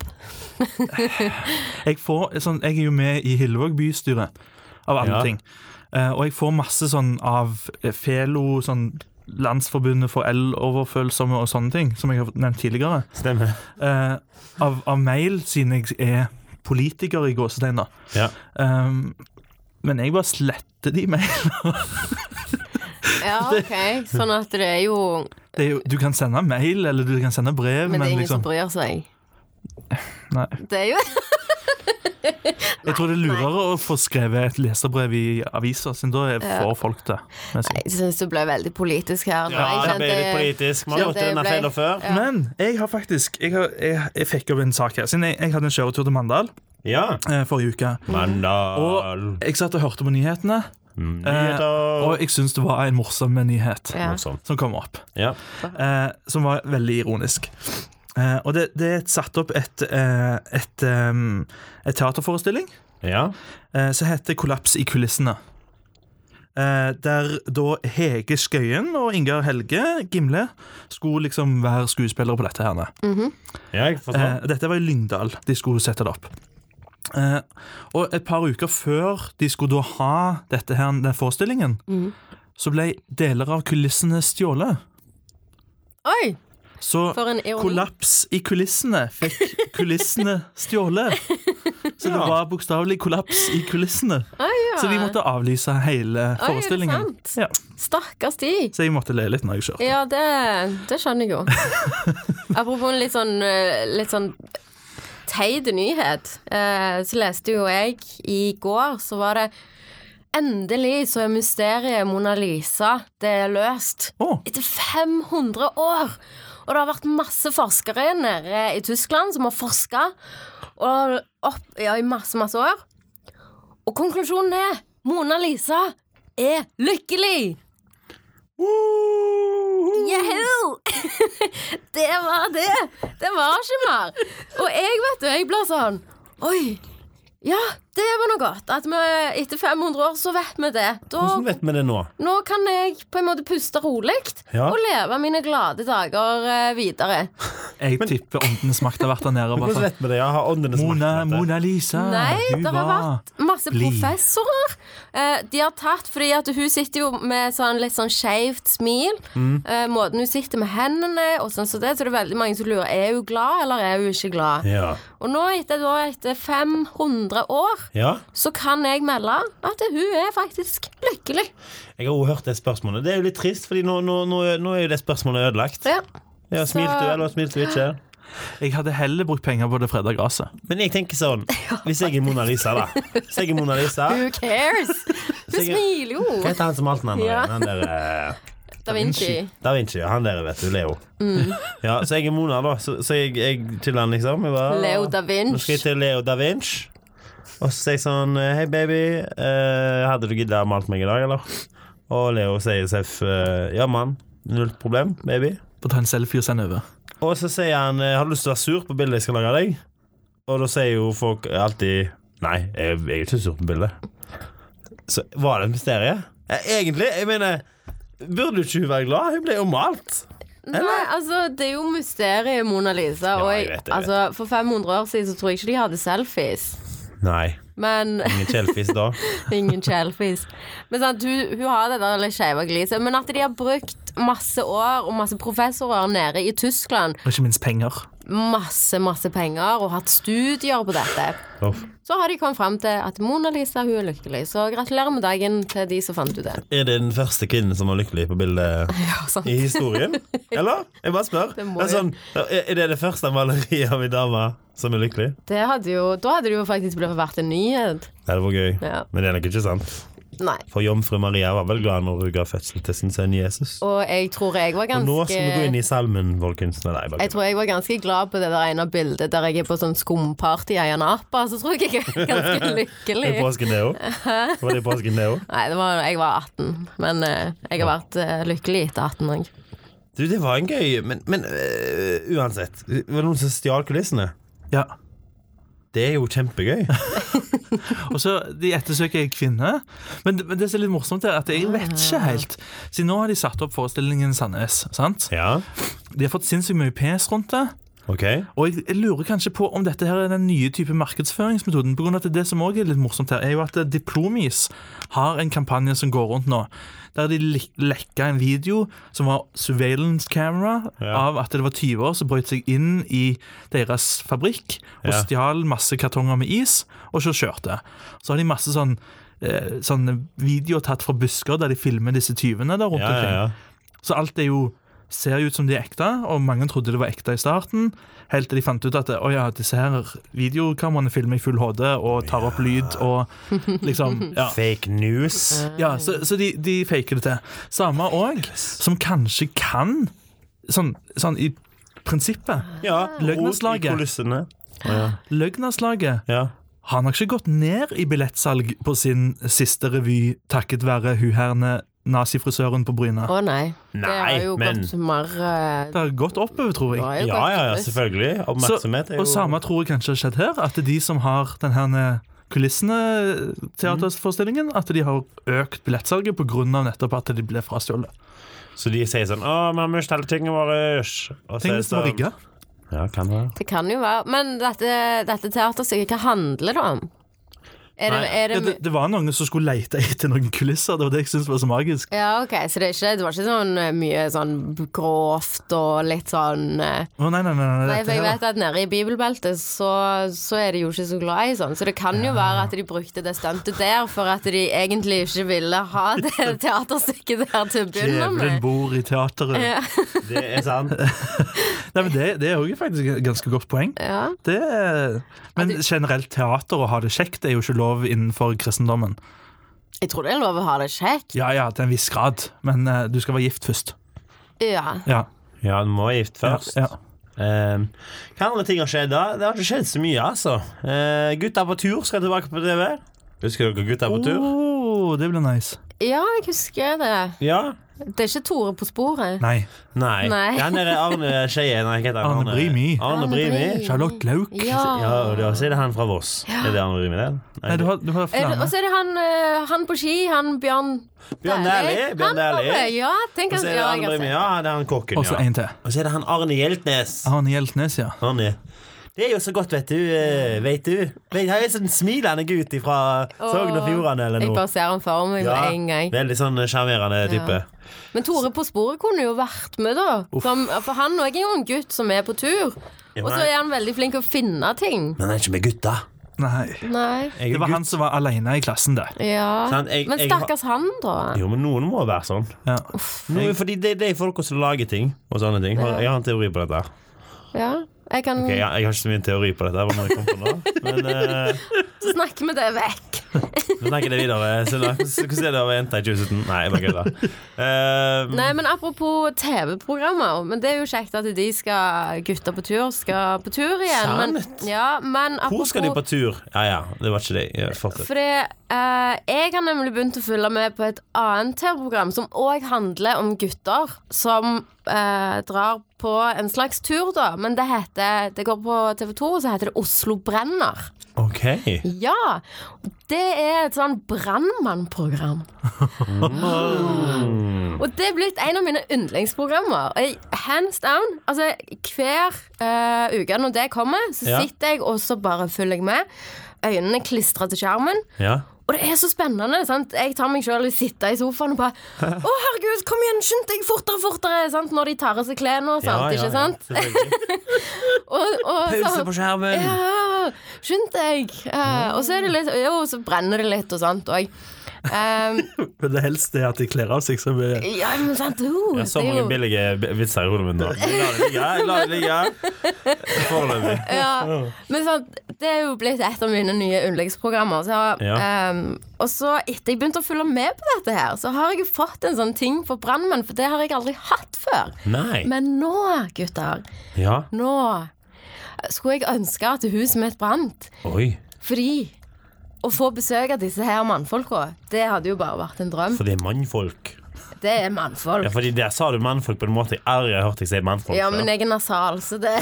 Speaker 2: jeg, får, sånn, jeg er jo med i Hillevåg bystyre, av alle
Speaker 1: Ja.
Speaker 2: ting. Eh, og jeg får masse sånn av eh, Felo, sånn Landsforbundet for eloverfølsomme og sånne ting, som jeg har nevnt tidligere.
Speaker 1: Stemmer.
Speaker 2: eh, av, av mail, siden jeg er politiker i gåsetegn, da.
Speaker 1: Ja.
Speaker 2: Um, men jeg bare sletter de mailene.
Speaker 3: Ja, ok. Sånn at det er jo
Speaker 2: Det er jo- Du kan sende mail, eller du kan sende brev,
Speaker 3: Men
Speaker 2: men,
Speaker 3: det er ingen som
Speaker 2: liksom
Speaker 3: bryr seg.
Speaker 2: Nei.
Speaker 3: Det er jo
Speaker 2: Jeg tror det er lurere å få skrevet et leserbrev i aviser, siden da er- får folk det. med seg.
Speaker 3: Jeg syns det ble veldig politisk her. nå.
Speaker 1: ja,
Speaker 3: Jeg
Speaker 1: det ble
Speaker 3: kjente-
Speaker 1: litt politisk. Vi
Speaker 3: Ja,
Speaker 1: har gjort
Speaker 3: det
Speaker 1: denne
Speaker 3: ble-
Speaker 1: feilen før.
Speaker 3: Ja.
Speaker 2: Men jeg har faktisk Jeg, har, jeg, jeg fikk opp en sak her. Siden jeg, jeg hadde en kjøretur til Mandal
Speaker 1: Ja.
Speaker 2: eh, forrige uke.
Speaker 1: Mandal.
Speaker 2: Og jeg satt og hørte på nyhetene, eh, og jeg syns det var en morsom nyhet
Speaker 3: Ja.
Speaker 1: Sånn.
Speaker 2: som kom opp.
Speaker 1: Ja.
Speaker 2: eh, som var veldig ironisk. Eh, og det, det er satt opp et, eh, et, em, et teaterforestilling
Speaker 1: ja.
Speaker 2: eh, som heter Kollaps i kulissene. Eh, der da Hege Skøyen og Ingar Helge Gimle skulle liksom være skuespillere på dette. her
Speaker 1: Ja, jeg
Speaker 2: eh,
Speaker 1: forstår.
Speaker 2: Dette var i Lyngdal de skulle sette det opp. Eh, og et par uker før de skulle da ha dette her, den forestillingen,
Speaker 3: Mm.
Speaker 2: så ble deler av kulissene stjålet.
Speaker 3: Oi!
Speaker 2: Så
Speaker 3: For en ironi.
Speaker 2: kollaps i kulissene fikk kulissene stjålet. Så det var bokstavelig kollaps i kulissene.
Speaker 3: Oi, ja.
Speaker 2: Så de måtte avlyse hele
Speaker 3: Oi, er det
Speaker 2: forestillingen.
Speaker 3: sant?
Speaker 2: Ja,
Speaker 3: Stakkars de.
Speaker 2: så jeg måtte le litt når jeg kjørte.
Speaker 3: Ja, det, det skjønner jeg jo. Apropos en litt sånn, eh, litt sånn teit nyhet, eh, så leste jo jeg i går, så var det Endelig så er mysteriet Mona Lisa Det er løst.
Speaker 2: Å,
Speaker 3: etter 500 år. Og det har vært masse forskere nede eh, i Tyskland som har forska ja, i masse, masse år. Og konklusjonen er Mona Lisa er lykkelig! Yahoo! det var det. Det var ikke mer. Og jeg, vet du, jeg blir sånn Oi. Ja, Det var noe godt. At vi etter 500 år så vet vi det. Da,
Speaker 1: Hvordan vet vi det nå?
Speaker 3: nå kan jeg på en måte puste rolig
Speaker 1: Ja.
Speaker 3: og leve mine glade dager eh, videre.
Speaker 2: Jeg tipper åndenes makt har vært der nede. og bare
Speaker 1: Hvordan
Speaker 2: sånn,
Speaker 1: vet vi det? Ja, har åndene
Speaker 2: Mona,
Speaker 1: smakt dette?
Speaker 2: Mona Lisa.
Speaker 3: Nei,
Speaker 2: hun
Speaker 3: det har
Speaker 2: var-
Speaker 3: vært masse
Speaker 2: blid.
Speaker 3: professorer. Eh, de har tatt fordi at hun sitter jo med sånn litt sånn skeivt smil.
Speaker 1: Mm.
Speaker 3: Eh, måten hun sitter med hendene og sånn som det, så det er veldig mange som lurer er hun glad eller er hun ikke glad.
Speaker 1: Ja.
Speaker 3: Og nå etter, da, etter 500 år
Speaker 1: ja.
Speaker 3: så kan jeg melde at hun er faktisk lykkelig.
Speaker 1: Jeg har også hørt det spørsmålet. Det er jo litt trist, fordi nå, nå, nå, nå er jo det spørsmålet ødelagt.
Speaker 3: Ja.
Speaker 1: Ja,
Speaker 3: Så-
Speaker 1: smilte du, eller smilte du ikke?
Speaker 2: Jeg hadde heller brukt penger på det freda gresset.
Speaker 1: Men jeg tenker sånn Hvis jeg er Mona Lisa, da. Hvis jeg er Mona Lisa Hva
Speaker 3: Who cares? Hun
Speaker 1: Sikkert-
Speaker 3: smiler jo.
Speaker 1: heter han som alt den andre?
Speaker 3: Ja.
Speaker 1: igjen? Han der, eh,
Speaker 3: Da Mm. Vinci.
Speaker 1: Da Vinci, ja, han der, vet du. Leo. Ja, så jeg er Mona, da. Så, så jeg, jeg chiller han, liksom. Jeg bare,
Speaker 3: Leo da
Speaker 1: Nå skal jeg
Speaker 3: Vinci.
Speaker 1: til Leo da Vinci. Og så sier jeg sånn Hei, baby. eh, hadde du giddet å malt meg i dag, eller? Og Leo sier seff eh, Ja, mann. Null problem, baby.
Speaker 2: På å ta en selfie og sende over.
Speaker 1: Og så sier han eh, Har du lyst til å være sur på bildet jeg skal lage av deg? Og da sier jo folk alltid Nei, jeg, jeg er ikke sur på bildet. Så var det et mysterium? Ja, egentlig. Jeg mener Burde jo ikke hun være glad? Hun ble jo malt.
Speaker 3: Nei, altså, det er jo mysteriet Mona Lisa.
Speaker 1: Ja,
Speaker 3: Og
Speaker 1: jeg
Speaker 3: jeg,
Speaker 1: vet det, jeg
Speaker 3: altså, for 500 år siden så tror jeg ikke de hadde selfies.
Speaker 1: Nei.
Speaker 3: Men
Speaker 1: Ingen kjellfis da.
Speaker 3: Ingen selfies. Men sant, hun, hun har det der litt skeive gliset. Men at de har brukt masse år og masse professorer nede i Tyskland,
Speaker 2: Og ikke minst penger.
Speaker 3: masse, masse penger, og hatt studier på dette,
Speaker 1: Uff.
Speaker 3: så har de kommet fram til at Mona Lisa hun er lykkelig. Så gratulerer med dagen til de som fant ut det.
Speaker 1: Er det den første kvinnen som var lykkelig på bildet
Speaker 3: Ja, sant.
Speaker 1: i historien? Eller? Jeg bare spør.
Speaker 3: Det må
Speaker 1: Det er, sånn, er er det det første maleriet av ei dame som er lykkelig?
Speaker 3: Det hadde jo, da hadde det jo faktisk blitt vært en nyhet.
Speaker 1: Nei, det var gøy.
Speaker 3: Ja.
Speaker 1: Men det er nok ikke sant.
Speaker 3: Nei.
Speaker 1: For jomfru Maria var vel glad når hun ga fødsel til sin sønn Jesus.
Speaker 3: Og jeg tror jeg var
Speaker 1: Og
Speaker 3: ganske
Speaker 1: nå skal vi gå inn i salmen, folkens. Nei, nei, bare
Speaker 3: jeg tror jeg var ganske glad på det der ene bildet der jeg er på sånn skumparty i Ayanapa. Så tror jeg jeg er ganske
Speaker 1: Det
Speaker 3: lykkelig.
Speaker 1: er påsken, det òg. Var det påsken, det òg?
Speaker 3: Nei, det var, jeg var 18, men eh, jeg har vært eh, lykkelig etter 18 òg.
Speaker 1: Du, det var en gøy Men, men øh, uansett. Det var noen som stjal kulissene.
Speaker 2: Ja.
Speaker 1: Det er jo kjempegøy.
Speaker 2: Og så de ettersøker jeg kvinner. Men, det- men det som er litt morsomt, er at jeg vet ikke helt. Siden nå har de satt opp forestillingen Sandnes. sant?
Speaker 1: Ja,
Speaker 2: De har fått sinnssykt mye pes rundt det.
Speaker 1: ok
Speaker 2: Og jeg, jeg lurer kanskje på om dette her er den nye type markedsføringsmetoden. På grunn av at det som også er litt morsomt her, er jo at eh, Diplomis har en kampanje som går rundt nå. Der de lek- lekka en video som var surveillance camera
Speaker 1: Ja.
Speaker 2: av at det var 20 år som brøt seg inn i deres fabrikk og
Speaker 1: Ja.
Speaker 2: stjal masse kartonger med is, og så kjørte. Så har de masse sånn eh, Sånne videoer tatt fra busker der de filmer disse tyvene der rundt
Speaker 1: Ja, ja,
Speaker 2: omkring.
Speaker 1: ja.
Speaker 2: Så alt er jo ser jo ut som de er ekte, og mange trodde det var ekte i starten. Helt til de fant ut at å ja, disse her videokameraene filmer i full HD og tar opp lyd og liksom Ja,
Speaker 1: Fake news.
Speaker 3: Ah.
Speaker 2: ja så, så de, de faker det til. Samme òg, som kanskje kan, sånn, sånn i prinsippet
Speaker 1: Ja,
Speaker 2: Løgneslaget.
Speaker 1: rot i kulissene.
Speaker 2: Løgnaslaget
Speaker 1: Ja.
Speaker 2: har nok ikke gått ned i billettsalg på sin siste revy takket være hun herne nazifrisøren på Bryna.
Speaker 3: Å nei. det
Speaker 1: Nei,
Speaker 3: har jo
Speaker 1: men-
Speaker 3: gått mer eh,
Speaker 2: Det har gått oppover, tror jeg.
Speaker 3: det har jo
Speaker 1: Ja,
Speaker 3: gått
Speaker 1: ja, ja,
Speaker 3: kryss.
Speaker 1: selvfølgelig.
Speaker 2: Så,
Speaker 1: Oppmerksomhet er jo
Speaker 2: og samme tror jeg kanskje har skjedd her. At de som har den her kulissene eh,
Speaker 1: Mm.
Speaker 2: teaterforestillingen, at de har økt billettsalget pga. nettopp at de ble frastjålet.
Speaker 1: Så de sier sånn 'Å, vi har mistet alle tingene våre'. Og
Speaker 2: Ting
Speaker 1: er det
Speaker 2: som var
Speaker 1: sånn-
Speaker 2: rigga.
Speaker 1: Ja, kan være.
Speaker 3: Det kan jo være Men dette, dette teaterstykket, hva handler det om? Er det,
Speaker 1: Nei,
Speaker 3: er
Speaker 2: Ja,
Speaker 3: det,
Speaker 2: det, det var noen som skulle lete etter noen kulisser. Det var det jeg syntes var så magisk.
Speaker 3: ja, ok, så det, er ikke, det var ikke sånn eh, mye sånn grovt og litt sånn eh,
Speaker 2: Å, nei, nei, nei, nei,
Speaker 3: Nei, for
Speaker 2: dette
Speaker 3: jeg
Speaker 2: her.
Speaker 3: vet at nede i bibelbeltet så, så er de jo ikke så glad i sånn, så det kan jo være at de brukte det stuntet der for at de egentlig ikke ville ha det teaterstykket der til å begynne
Speaker 2: Djevelen
Speaker 3: med.
Speaker 2: bor i teateret.
Speaker 3: Ja.
Speaker 1: Det er sant.
Speaker 2: Nei, men det, det er jo faktisk et ganske godt poeng.
Speaker 3: Ja.
Speaker 2: Det, er- men generelt teater og ha det kjekt er jo ikke lov innenfor kristendommen.
Speaker 3: Jeg tror det er lov å ha det kjekt.
Speaker 2: Ja ja, til en viss grad, men eh, du skal være gift først.
Speaker 3: Ja.
Speaker 2: Ja,
Speaker 1: Ja, du må være gift
Speaker 2: ja,
Speaker 1: først.
Speaker 2: ja.
Speaker 1: Ehm, hva andre ting har skjedd da? Det har ikke skjedd så mye, altså. Eh, gutta på tur skal tilbake på TV. Husker dere Gutta på tur?
Speaker 2: Oh, det blir nice.
Speaker 3: Ja, jeg husker det.
Speaker 1: Ja?
Speaker 3: Det er ikke Tore på sporet.
Speaker 2: Nei.
Speaker 1: Nei.
Speaker 3: Nei.
Speaker 1: Han der er Arne Skeie. Nei, hva heter han?
Speaker 2: Arne Brimi.
Speaker 1: Arne Brimi.
Speaker 2: Charlotte Lauk.
Speaker 1: Ja, og det er også er det han fra Voss. Er det Arne Brimi, det?
Speaker 2: Nei, du har, du har
Speaker 3: Er det- Og
Speaker 2: flere.
Speaker 3: så er det han, eh, han på ski, han Bjørn
Speaker 1: Bjørn Dæhlie. Bjørn
Speaker 3: Han var
Speaker 1: Dæhlie.
Speaker 3: med, Ja, tenk
Speaker 1: Og
Speaker 3: at
Speaker 1: så er
Speaker 3: ja,
Speaker 1: det Arne
Speaker 3: jeg har
Speaker 1: Brimi.
Speaker 3: sett.
Speaker 1: Ja, det er han kokken,
Speaker 2: Og så
Speaker 1: ja.
Speaker 2: en til.
Speaker 1: Og så er det han Arne Hjeltnes.
Speaker 2: Arne Hjeltnes, ja.
Speaker 1: Arne. Det er jo så godt, vet du. eh, Vet du. Vet, han er en sånn smilende gutt fra Sogn og Fjordane eller
Speaker 3: Jeg
Speaker 1: noe.
Speaker 3: bare ser han for meg
Speaker 1: Ja,
Speaker 3: med en gang.
Speaker 1: veldig sånn eh, sjarmerende type.
Speaker 3: Men Tore på sporet kunne jo vært med, da. Som, for han òg er jo en gutt som er på tur.
Speaker 1: Ja,
Speaker 3: Og så
Speaker 1: nei.
Speaker 3: er han veldig flink til å finne ting.
Speaker 1: Men han er ikke med gutta.
Speaker 2: Nei.
Speaker 3: Nei.
Speaker 1: Jeg er
Speaker 2: Det var
Speaker 1: gutt.
Speaker 2: han som var alene i klassen, det.
Speaker 3: Ja.
Speaker 1: Sant, jeg-
Speaker 3: Men
Speaker 1: jeg-
Speaker 3: stakkars han, da.
Speaker 1: Jo, men noen må være sånn.
Speaker 2: Ja.
Speaker 1: Noen, fordi det, det er folka som lager ting og sånne ting. Har- Jeg har en teori på dette.
Speaker 3: Ja. Jeg kan
Speaker 1: Ok, jeg, jeg har ikke så mye teori på dette, men jeg kom på nå. Men eh,
Speaker 3: snakke med det vekk.
Speaker 1: vi snakker det videre. Så da, hvordan er det å være jente i 2017? Nei, jeg bare kødder. Eh,
Speaker 3: Nei, men Apropos TV-programmer. Men Det er jo kjekt at de skal gutter på tur skal på tur igjen. Men,
Speaker 1: Sant.
Speaker 3: ja, men
Speaker 1: hvor skal de på tur? Ja ja, det var ikke det. Ja, Fortsett.
Speaker 3: Fordi eh, jeg har nemlig begynt å følge med på et annet TV-program som òg handler om gutter som eh, drar på en slags tur, da. Men det heter Det går på TV2, og så heter det Oslo brenner.
Speaker 1: OK.
Speaker 3: Ja! Det er et sånn brannmannprogram. Og det er blitt en av mine yndlingsprogrammer. Og jeg- Hands down. Altså, hver eh, uke når det kommer, så
Speaker 1: Ja.
Speaker 3: sitter jeg og så bare følger jeg med. Øynene klistrer til skjermen.
Speaker 1: Ja.
Speaker 3: Og det er så spennende. sant? Jeg tar meg sjøl i å sitte i sofaen og bare Å, herregud, kom igjen, skynd deg fortere, fortere! sant? Når de tar av seg klærne og sånt. ikke sant?
Speaker 1: selvfølgelig.
Speaker 3: Og, og,
Speaker 1: Pause på skjermen.
Speaker 3: ja, skynd deg! Eh, og så er det litt Jo, så brenner det litt og sånt òg.
Speaker 2: Men det helst er at de kler av seg som er
Speaker 3: ja, men sant jo,
Speaker 1: Jeg har så
Speaker 3: det er
Speaker 1: mange
Speaker 3: jo-
Speaker 1: billige b- vitser i hodet mitt nå. La det ligge. La det ligge. Foreløpig.
Speaker 3: ja. Men sant, det er jo blitt et av mine nye yndlingsprogrammer. Så,
Speaker 1: Ja.
Speaker 3: ehm, og så etter jeg begynte å følge med på dette, her så har jeg jo fått en sånn ting for brannmenn, for det har jeg aldri hatt før.
Speaker 1: Nei.
Speaker 3: Men nå, gutter,
Speaker 1: Ja.
Speaker 3: nå skulle jeg ønske at huset mitt brant.
Speaker 1: Oi.
Speaker 3: Fordi å få besøk av disse her mannfolka, det hadde jo bare vært en drøm.
Speaker 1: For det er mannfolk.
Speaker 3: Det er
Speaker 1: Ja,
Speaker 3: mannfolk.
Speaker 1: fordi Der sa du mannfolk på en måte jeg aldri har hørt deg si mannfolk.
Speaker 3: Ja,
Speaker 1: før.
Speaker 3: men jeg er nasal, så det,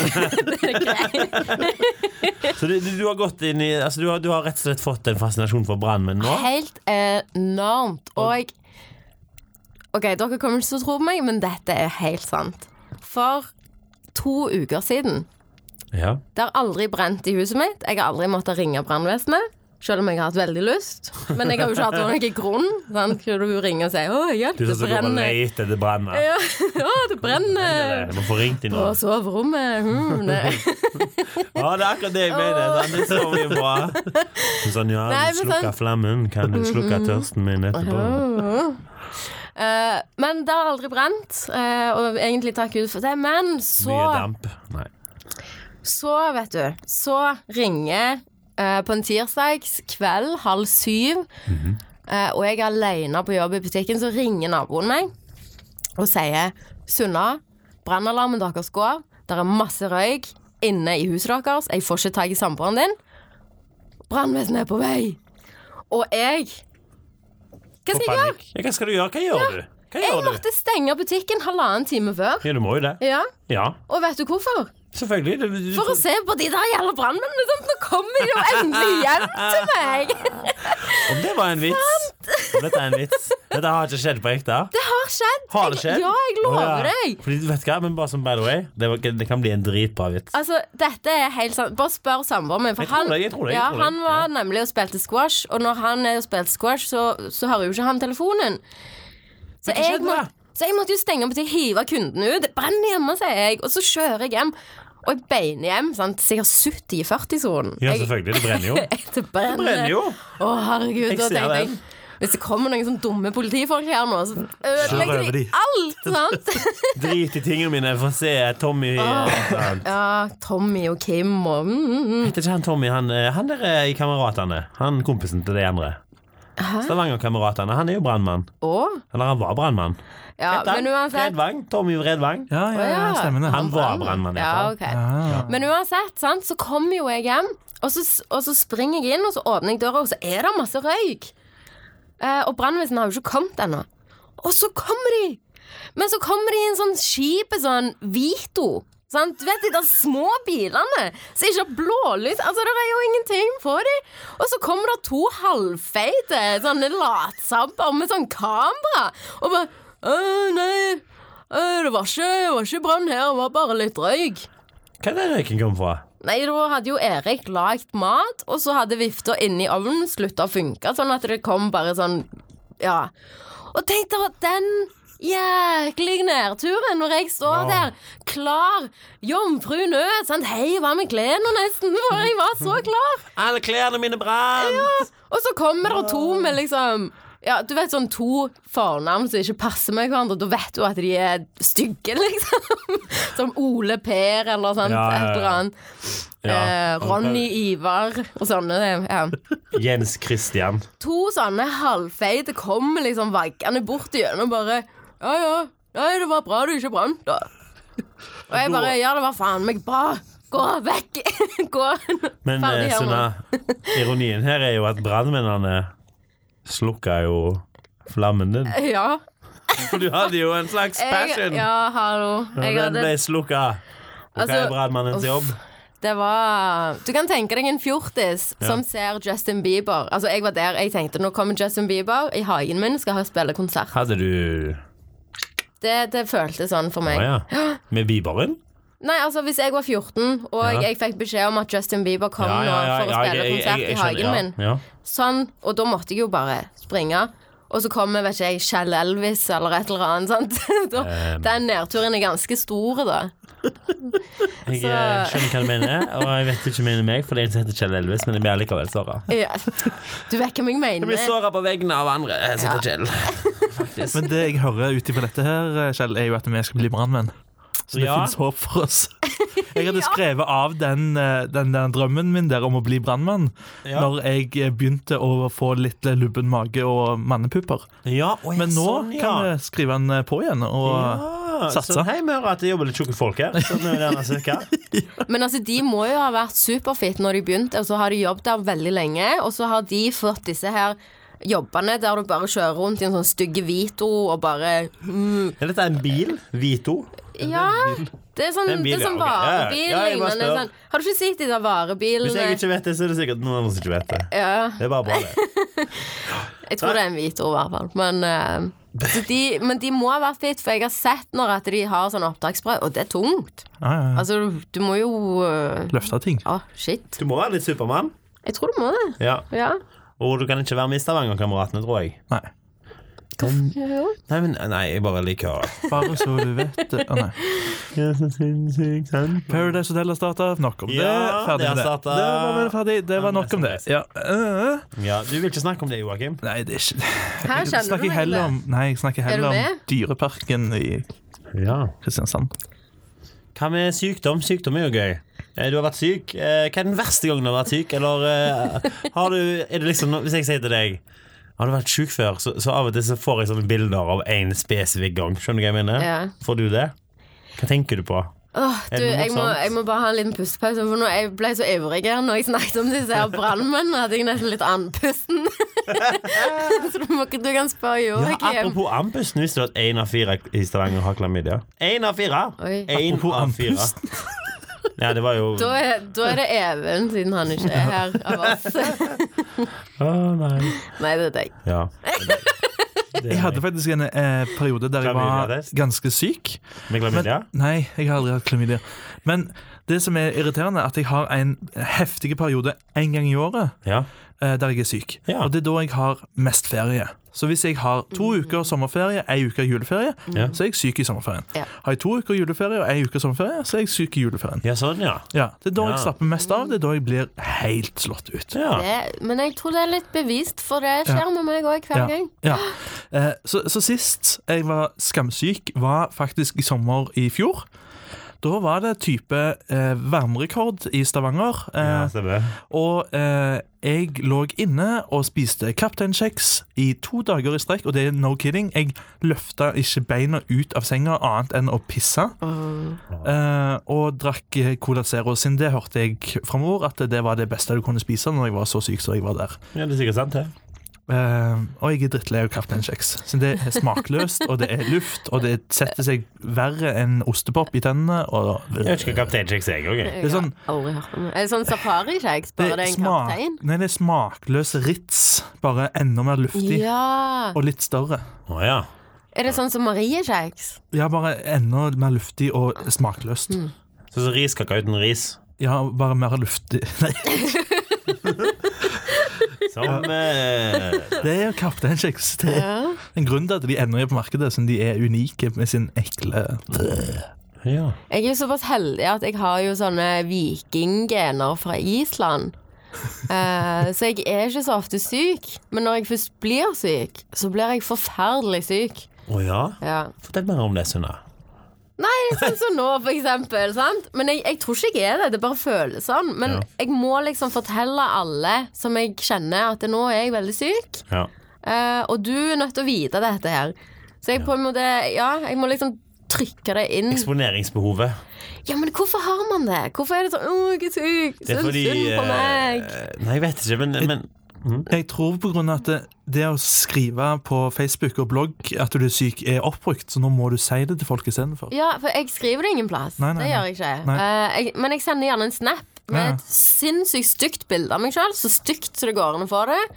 Speaker 3: det er greit.
Speaker 1: Så du, du, du har gått inn i altså, du, har, du har rett og slett fått en fascinasjon for brannmenn nå?
Speaker 3: Helt enormt. Og OK, dere kommer ikke til å tro på meg, men dette er helt sant. For to uker siden
Speaker 1: Ja.
Speaker 3: Det har aldri brent i huset mitt. Jeg har aldri måttet ringe brannvesenet. Selv om jeg har hatt veldig lyst. Men jeg har jo ikke hatt noen grunn. Sånn, kunne du ringe og si 'Å, hjelp,
Speaker 1: Du
Speaker 3: det
Speaker 1: som går og
Speaker 3: brenner'.
Speaker 1: leter etter branner.
Speaker 3: Ja, ja, det brenner
Speaker 1: Du må få ringt inn
Speaker 3: på
Speaker 1: nå.
Speaker 3: soverommet. Hmm, nei.
Speaker 1: Ja, det er akkurat det jeg mener. sant? Det er så mye bra. Hun sånn, ja,
Speaker 3: Nei,
Speaker 1: du
Speaker 3: men
Speaker 1: slukker
Speaker 3: sant. Mm-hmm.
Speaker 1: flammen. Kan du slukke tørsten min etterpå?
Speaker 3: Eh, men det har aldri brent, eh, og egentlig takk Gud for det. Men
Speaker 1: Mye
Speaker 3: så,
Speaker 1: damp. Nei.
Speaker 3: så vet du, så ringer eh, på en tirsdags kveld halv syv, eh, og jeg er alene på jobb i butikken, så ringer naboen meg og sier Sunna, brannalarmen deres går, det er masse røyk inne i huset deres, jeg får ikke tak i samboeren din. Brannvesenet er på vei! Og jeg Hva
Speaker 1: Få
Speaker 3: skal jeg gjøre?
Speaker 1: panikk. Ja, hva skal du gjøre? Hva gjør du? Hva
Speaker 3: Jeg
Speaker 1: gjør du?
Speaker 3: måtte stenge butikken halvannen time før.
Speaker 1: Ja, du må jo det.
Speaker 3: Ja,
Speaker 1: Ja,
Speaker 3: Og vet du hvorfor?
Speaker 1: selvfølgelig. Du, du,
Speaker 3: For å se på de der jævla brannmennene! sant? Nå kommer de jo endelig hjem til meg!
Speaker 1: Om det var en vits. Om dette er en vits. Dette har ikke skjedd på ekte.
Speaker 3: Det har skjedd!
Speaker 1: Har det skjedd?
Speaker 3: Ja, jeg
Speaker 1: Å,
Speaker 3: lover
Speaker 1: ja.
Speaker 3: deg.
Speaker 1: Fordi, vet du hva, men bare som by the way, det, var, det kan bli en dritbra vits.
Speaker 3: Altså, dette er helt sant. Bare spør samboeren min. For
Speaker 1: Jeg tror
Speaker 3: han,
Speaker 1: det, jeg tror det, jeg
Speaker 3: ja,
Speaker 1: tror det.
Speaker 3: han var nemlig og spilte squash, og når han er og spilte squash, så, så hører jo ikke han telefonen.
Speaker 1: hva
Speaker 3: Så Altså, jeg,
Speaker 1: skjedde
Speaker 3: må,
Speaker 1: da?
Speaker 3: så jeg måtte jo stenge opp til hive kunden ut. Det brenner hjemme, sier jeg. Og så kjører jeg hjem. Og jeg beiner hjem. Sant? Sikkert 70 i 40-sonen.
Speaker 1: Ja,
Speaker 3: Jeg-
Speaker 1: selvfølgelig. Det brenner jo.
Speaker 3: Det brenner.
Speaker 1: brenner jo.
Speaker 3: Å, herregud.
Speaker 1: Jeg
Speaker 3: Da
Speaker 1: ser
Speaker 3: tenkte jeg
Speaker 1: den.
Speaker 3: hvis det kommer noen sånn dumme politifolk her nå, så ødelegger
Speaker 2: over
Speaker 3: de
Speaker 2: de.
Speaker 3: alt, sant?
Speaker 1: Drit i tingene mine, få se Tommy. sant?
Speaker 3: Ja, Tommy og Kim og mm, mm, mm.
Speaker 1: Heter ikke han Tommy, han, eh, han der er i Kameratene? Han kompisen til de andre. Stavanger-kameratene. Han er jo brannmann.
Speaker 3: Og?
Speaker 1: Eller han var brannmann.
Speaker 3: Ja,
Speaker 1: Heter han?
Speaker 3: men uansett
Speaker 1: Redvang. Tommy Redvang.
Speaker 2: Ja, ja, ja,
Speaker 3: Å, ja.
Speaker 2: stemmer det.
Speaker 1: Han var brannmann, i
Speaker 3: ja,
Speaker 1: hvert fall.
Speaker 3: ok.
Speaker 2: Ah.
Speaker 3: Men uansett, sant, så kommer jo jeg hjem, og så, og så springer jeg inn, og så åpner jeg døra, og så er det masse røyk. Eh, og brannvesenet har jo ikke kommet ennå. Og så kommer de! Men så kommer de i en sånn kjip sånn Vito. Sant? Du vet de der små bilene som ikke har blålys? Altså, det er jo ingenting på dem. Og så kommer det to halvfeite sånne latsabber med sånn kamera og bare «Å, nei, øh, det var ikke, det var ikke brann her, det var bare litt røyk.
Speaker 1: Hva er det røyken kom fra?
Speaker 3: Nei, da hadde jo Erik lagd mat, og så hadde vifta inni ovnen slutta å funke, sånn at det kom bare sånn Ja. Og tenk deg den jæklig nedturen når jeg står der, klar, jomfru nød, sant, heiv av meg klærne nesten, for jeg var så klar.
Speaker 1: Alle klærne mine brant!
Speaker 3: Og så kommer det to med liksom ja, du vet sånn to fornavn som ikke passer med hverandre. Da vet du at de er stygge, liksom. Som Ole Per eller sånt.
Speaker 1: Ja, ja, ja.
Speaker 3: Et eller annet. Eh, Ronny Ivar og sånne. Ja.
Speaker 1: Jens Christian.
Speaker 3: To sånne halvfeite kommer liksom vaggende bort igjen og bare Ja, ja. Nei, det var bra du ikke brant, da. Og jeg bare Ja, det var faen meg bra. Gå vekk. Gå.
Speaker 1: Men
Speaker 3: Ferdig,
Speaker 1: eh,
Speaker 3: Herman.
Speaker 1: Sunna, ironien her er jo at brannmennene slukka jo flammen din.
Speaker 3: Ja.
Speaker 1: For du hadde jo en slags
Speaker 3: Jeg,
Speaker 1: passion!
Speaker 3: ja, hallo.
Speaker 1: Og
Speaker 3: Jeg
Speaker 1: den
Speaker 3: hadde
Speaker 1: ble slukka. Og hva
Speaker 3: Altså,
Speaker 1: er brannmannens
Speaker 3: uff.
Speaker 1: jobb?
Speaker 3: Det var Du kan tenke deg en fjortis som ser Justin Bieber. Altså, jeg var der. Jeg tenkte nå kommer Justin Bieber i hagen min, skal han spille konsert.
Speaker 1: Hadde du
Speaker 3: Det, det føltes sånn for
Speaker 1: Å
Speaker 3: meg.
Speaker 1: ja. Med biberen?
Speaker 3: Nei, altså, hvis jeg var 14, og
Speaker 1: Ja.
Speaker 3: jeg fikk beskjed om at Justin Bieber kom
Speaker 1: Ja, ja, ja,
Speaker 3: nå for å
Speaker 1: ja, jeg-
Speaker 3: spille
Speaker 1: jeg-
Speaker 3: konsert
Speaker 1: jeg- jeg
Speaker 3: i
Speaker 1: skjønner,
Speaker 3: hagen
Speaker 1: ja,
Speaker 3: min,
Speaker 1: Ja.
Speaker 3: sånn, og da måtte jeg jo bare springe. Og så kommer, vet ikke jeg, Kjell Elvis eller et eller annet. sant? Da,
Speaker 1: Um.
Speaker 3: Den nedturen er ganske stor, da.
Speaker 1: Jeg
Speaker 3: Så-
Speaker 1: eh, skjønner hva du mener, og jeg vet ikke om du mener meg, for det er en som heter Kjell Elvis, men jeg blir likevel såra.
Speaker 3: Ja. Du vet hva jeg
Speaker 1: Jeg blir
Speaker 3: mener.
Speaker 1: såra på vegne av andre eh, som heter Kjell. Faktisk.
Speaker 2: Men det jeg hører ut ifra dette her, eh, Kjell, er jo at vi skal bli brannmenn. Så det
Speaker 1: Ja.
Speaker 2: finnes håp for oss. Jeg hadde skrevet av den, eh, den, der drømmen min der om å bli brannmann
Speaker 1: Ja.
Speaker 2: når jeg eh, begynte å få litt eh, lubben mage og mannepupper.
Speaker 1: Ja, og jeg-
Speaker 2: Men nå
Speaker 1: sånn, ja.
Speaker 2: kan jeg skrive den eh, på igjen. Og
Speaker 1: ja,
Speaker 2: satse.
Speaker 1: Sånn, hei, vi hører at det jobber litt tjukke folk her. Sånn er det gjerne cirka.
Speaker 3: Men altså, de må jo ha vært superfit når de begynte, og så har de jobbet der veldig lenge, og så har de fått disse her jobbene der du bare kjører rundt i en sånn stygge Vito og bare mm,
Speaker 1: Er dette en bil? Vito?
Speaker 3: Ja, det er sånn,
Speaker 1: Det er en bil,
Speaker 3: det er sånn
Speaker 1: ja, ok. Ja, ja.
Speaker 3: varebil
Speaker 1: Ja, jeg bare
Speaker 3: lignende.
Speaker 1: spør.
Speaker 3: Sånn. Har du ikke sett de der varebilene?
Speaker 1: Hvis jeg ikke vet det, så er det sikkert noen andre som ikke vet det.
Speaker 3: Ja,
Speaker 1: Det er bare bra, det.
Speaker 3: jeg tror det er en Vito, i hvert fall. Men, eh, så de, men de må ha vært fit, for jeg har sett når at de har sånn opptaksprøve, og det er tungt.
Speaker 2: ja, ja, ja.
Speaker 3: Altså, du- du må jo eh,
Speaker 2: løfte ting.
Speaker 3: Ja, shit.
Speaker 1: Du må være litt Supermann.
Speaker 3: Jeg tror du må det.
Speaker 1: Ja.
Speaker 3: Ja.
Speaker 1: Og du kan ikke være med i Stavanger-kameratene, tror jeg.
Speaker 2: Nei.
Speaker 1: Nei, men, nei, jeg bare liker å
Speaker 2: Bare så du vet det. Å, nei. Paradise Hotel har starta. Nok om det.
Speaker 1: Ja,
Speaker 2: Ferdig
Speaker 1: det har
Speaker 2: med det.
Speaker 1: startet.
Speaker 2: Det var vel ferdig. Det var nok om det. Ja. øh, øh.
Speaker 1: Ja, du vil ikke snakke om det, Joakim?
Speaker 2: Nei, det er ikke
Speaker 3: Her
Speaker 2: Jeg
Speaker 3: kjenner du
Speaker 2: snakker
Speaker 3: meg
Speaker 2: heller om, nei, jeg snakker
Speaker 3: du
Speaker 2: heller om
Speaker 3: med?
Speaker 2: Dyreparken i
Speaker 1: Ja.
Speaker 2: Kristiansand.
Speaker 1: Hva med sykdom? Sykdom er jo gøy. Eh, Du har vært syk. Eh, Hva er den verste gangen du har vært syk? Eller eh, har du er det liksom, Hvis jeg sier til deg har du vært syk før, så, så av og til så får jeg sånne bilder av én spesifikk gang. Skjønner du hva jeg mener?
Speaker 3: Ja.
Speaker 1: Får du det? Hva tenker du på?
Speaker 3: Åh,
Speaker 1: Er det
Speaker 3: du,
Speaker 1: noe
Speaker 3: jeg må,
Speaker 1: morsomt?
Speaker 3: jeg må bare ha en liten pustepause, for nå jeg ble så ivrig her når jeg snakket om disse her brannmennene, at jeg nesten litt andpusten. så du, må, ikke- du kan spørre
Speaker 1: Ja,
Speaker 3: Joakim.
Speaker 1: apropos andpusten, visste du at én av fire i Stavanger har klamydia? Én av fire!
Speaker 3: Oi.
Speaker 1: En
Speaker 2: Apropos
Speaker 1: av fire.
Speaker 2: andpusten.
Speaker 1: Ja, det var jo
Speaker 3: Da, er- da er det Even, siden han ikke er her av oss.
Speaker 1: Å, nei.
Speaker 3: Nei, det er deg.
Speaker 1: Ja.
Speaker 2: Jeg hadde faktisk en eh, periode der jeg var
Speaker 1: Klamydia-test.
Speaker 2: ganske syk.
Speaker 1: Med klamydia?
Speaker 2: Nei, jeg har aldri hatt klamydia. Men det som er irriterende, er at jeg har en heftig periode en gang i året
Speaker 1: Ja.
Speaker 2: eh, der jeg er syk.
Speaker 1: Ja.
Speaker 2: Og det er da jeg har mest ferie. Så hvis jeg har to
Speaker 3: Mm.
Speaker 2: uker sommerferie, ei uke juleferie,
Speaker 1: Ja.
Speaker 2: så er jeg syk i sommerferien.
Speaker 3: Ja.
Speaker 2: Har jeg to uker juleferie og ei uke sommerferie, så er jeg syk i juleferien.
Speaker 1: ja, sånn, ja.
Speaker 2: Ja, Det er da
Speaker 1: Ja.
Speaker 2: jeg slapper mest av. Det er da jeg blir helt slått ut.
Speaker 1: ja.
Speaker 3: Det, men jeg tror det er litt bevist, for det skjer med meg òg hver gang.
Speaker 2: Ja. Eh, Så, så sist jeg var skamsyk, var faktisk i sommer i fjor. Da var det type eh, varmerekord i Stavanger. Eh,
Speaker 1: Ja, stemmer.
Speaker 2: og eh, jeg lå inne og spiste kapteinkjeks i to dager i strekk. Og det er no kidding. Jeg løfta ikke beina ut av senga annet enn å pisse. Eh, og drakk eh, Cola Zero sin. Det hørte jeg fra mor at det var det beste du kunne spise når jeg var så syk som jeg var der.
Speaker 1: Ja, det er sikkert sant, det.
Speaker 2: Eh, og jeg er drittlei av kapteinkjeks. Så det er smakløst, og det er luft, og det setter seg verre enn ostepop i tennene. Og,
Speaker 1: Jeg vet ikke hva kaptein Kjeks er, jeg òg.
Speaker 3: Jeg
Speaker 2: sånn-
Speaker 3: har aldri hørt om det. Er det sånn safarikjeks, bare det er en
Speaker 2: smak-
Speaker 3: kaptein?
Speaker 2: Nei, det er smakløs Ritz, bare enda mer luftig
Speaker 3: Ja.
Speaker 2: og litt større.
Speaker 1: Å ja.
Speaker 3: Er det sånn som mariekjeks?
Speaker 2: Ja, bare enda mer luftig og smakløst.
Speaker 3: Mm.
Speaker 1: Sånn som riskake uten ris.
Speaker 2: Ja, bare mer luftig Nei,
Speaker 1: Som eh,
Speaker 2: det er jo kapteinkjeks. Det er
Speaker 3: Ja.
Speaker 2: en grunn til at de ennå er på markedet, som de er unike med sin ekle
Speaker 3: Mm.
Speaker 1: Ja.
Speaker 3: Jeg er jo såpass heldig at jeg har jo sånne vikinggener fra Island. Eh, så jeg er ikke så ofte syk, men når jeg først blir syk, så blir jeg forferdelig syk.
Speaker 1: Å ja?
Speaker 3: Ja.
Speaker 1: Fortell mer om det, Sunna.
Speaker 3: Nei, sånn som nå, for eksempel. Sant? Men jeg, jeg tror ikke jeg er det. Det bare føles sånn. Men
Speaker 1: Ja.
Speaker 3: jeg må liksom fortelle alle som jeg kjenner, at nå er jeg veldig syk.
Speaker 1: Ja.
Speaker 3: eh, og du er nødt til å vite dette her. Så jeg på en måte Ja, jeg må liksom trykke det inn.
Speaker 1: Eksponeringsbehovet.
Speaker 3: Ja, men hvorfor har man det? Hvorfor er det sånn 'Å, jeg er syk'.
Speaker 1: Det er
Speaker 3: Synd
Speaker 1: fordi
Speaker 3: synd på meg.
Speaker 1: eh, Nei, jeg vet ikke, men, men
Speaker 2: Jeg tror på grunn av at det, det å skrive på Facebook og blogg at du er syk, er oppbrukt, så nå må du si det til folk istedenfor.
Speaker 3: Ja, for jeg skriver det ingen plass.
Speaker 2: Nei, nei,
Speaker 3: det
Speaker 2: nei.
Speaker 3: gjør jeg ikke.
Speaker 2: Nei.
Speaker 3: Eh, jeg, men jeg sender gjerne en snap med
Speaker 2: Ja.
Speaker 3: et sinnssykt stygt bilde av meg sjøl. Så stygt som det går an å få det.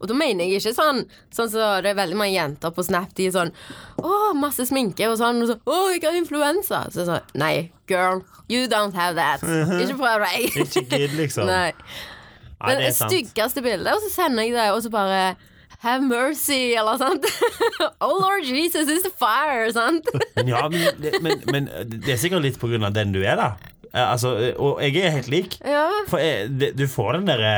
Speaker 3: Og da mener jeg ikke sånn Sånn så det er veldig mange jenter på Snap de er sånn Å, masse sminke og sånn. Og så, å, jeg har influensa. Så jeg sånn Nei, girl, you don't have that. Ikke prøv deg.
Speaker 1: Ikke gidd, liksom.
Speaker 3: Nei. eh,
Speaker 1: Nei,
Speaker 3: det,
Speaker 1: det er sant.
Speaker 3: styggeste bildet, og så sender jeg det, og så bare Have mercy, eller sant? oh lord Jesus, it's the fire, sant?
Speaker 1: Men, ja, men, det- men, men eh, det er sikkert litt på grunn av den du er, da. Eh, Altså, eh, og jeg er helt lik.
Speaker 3: ja.
Speaker 1: For jeg, det, du får den derre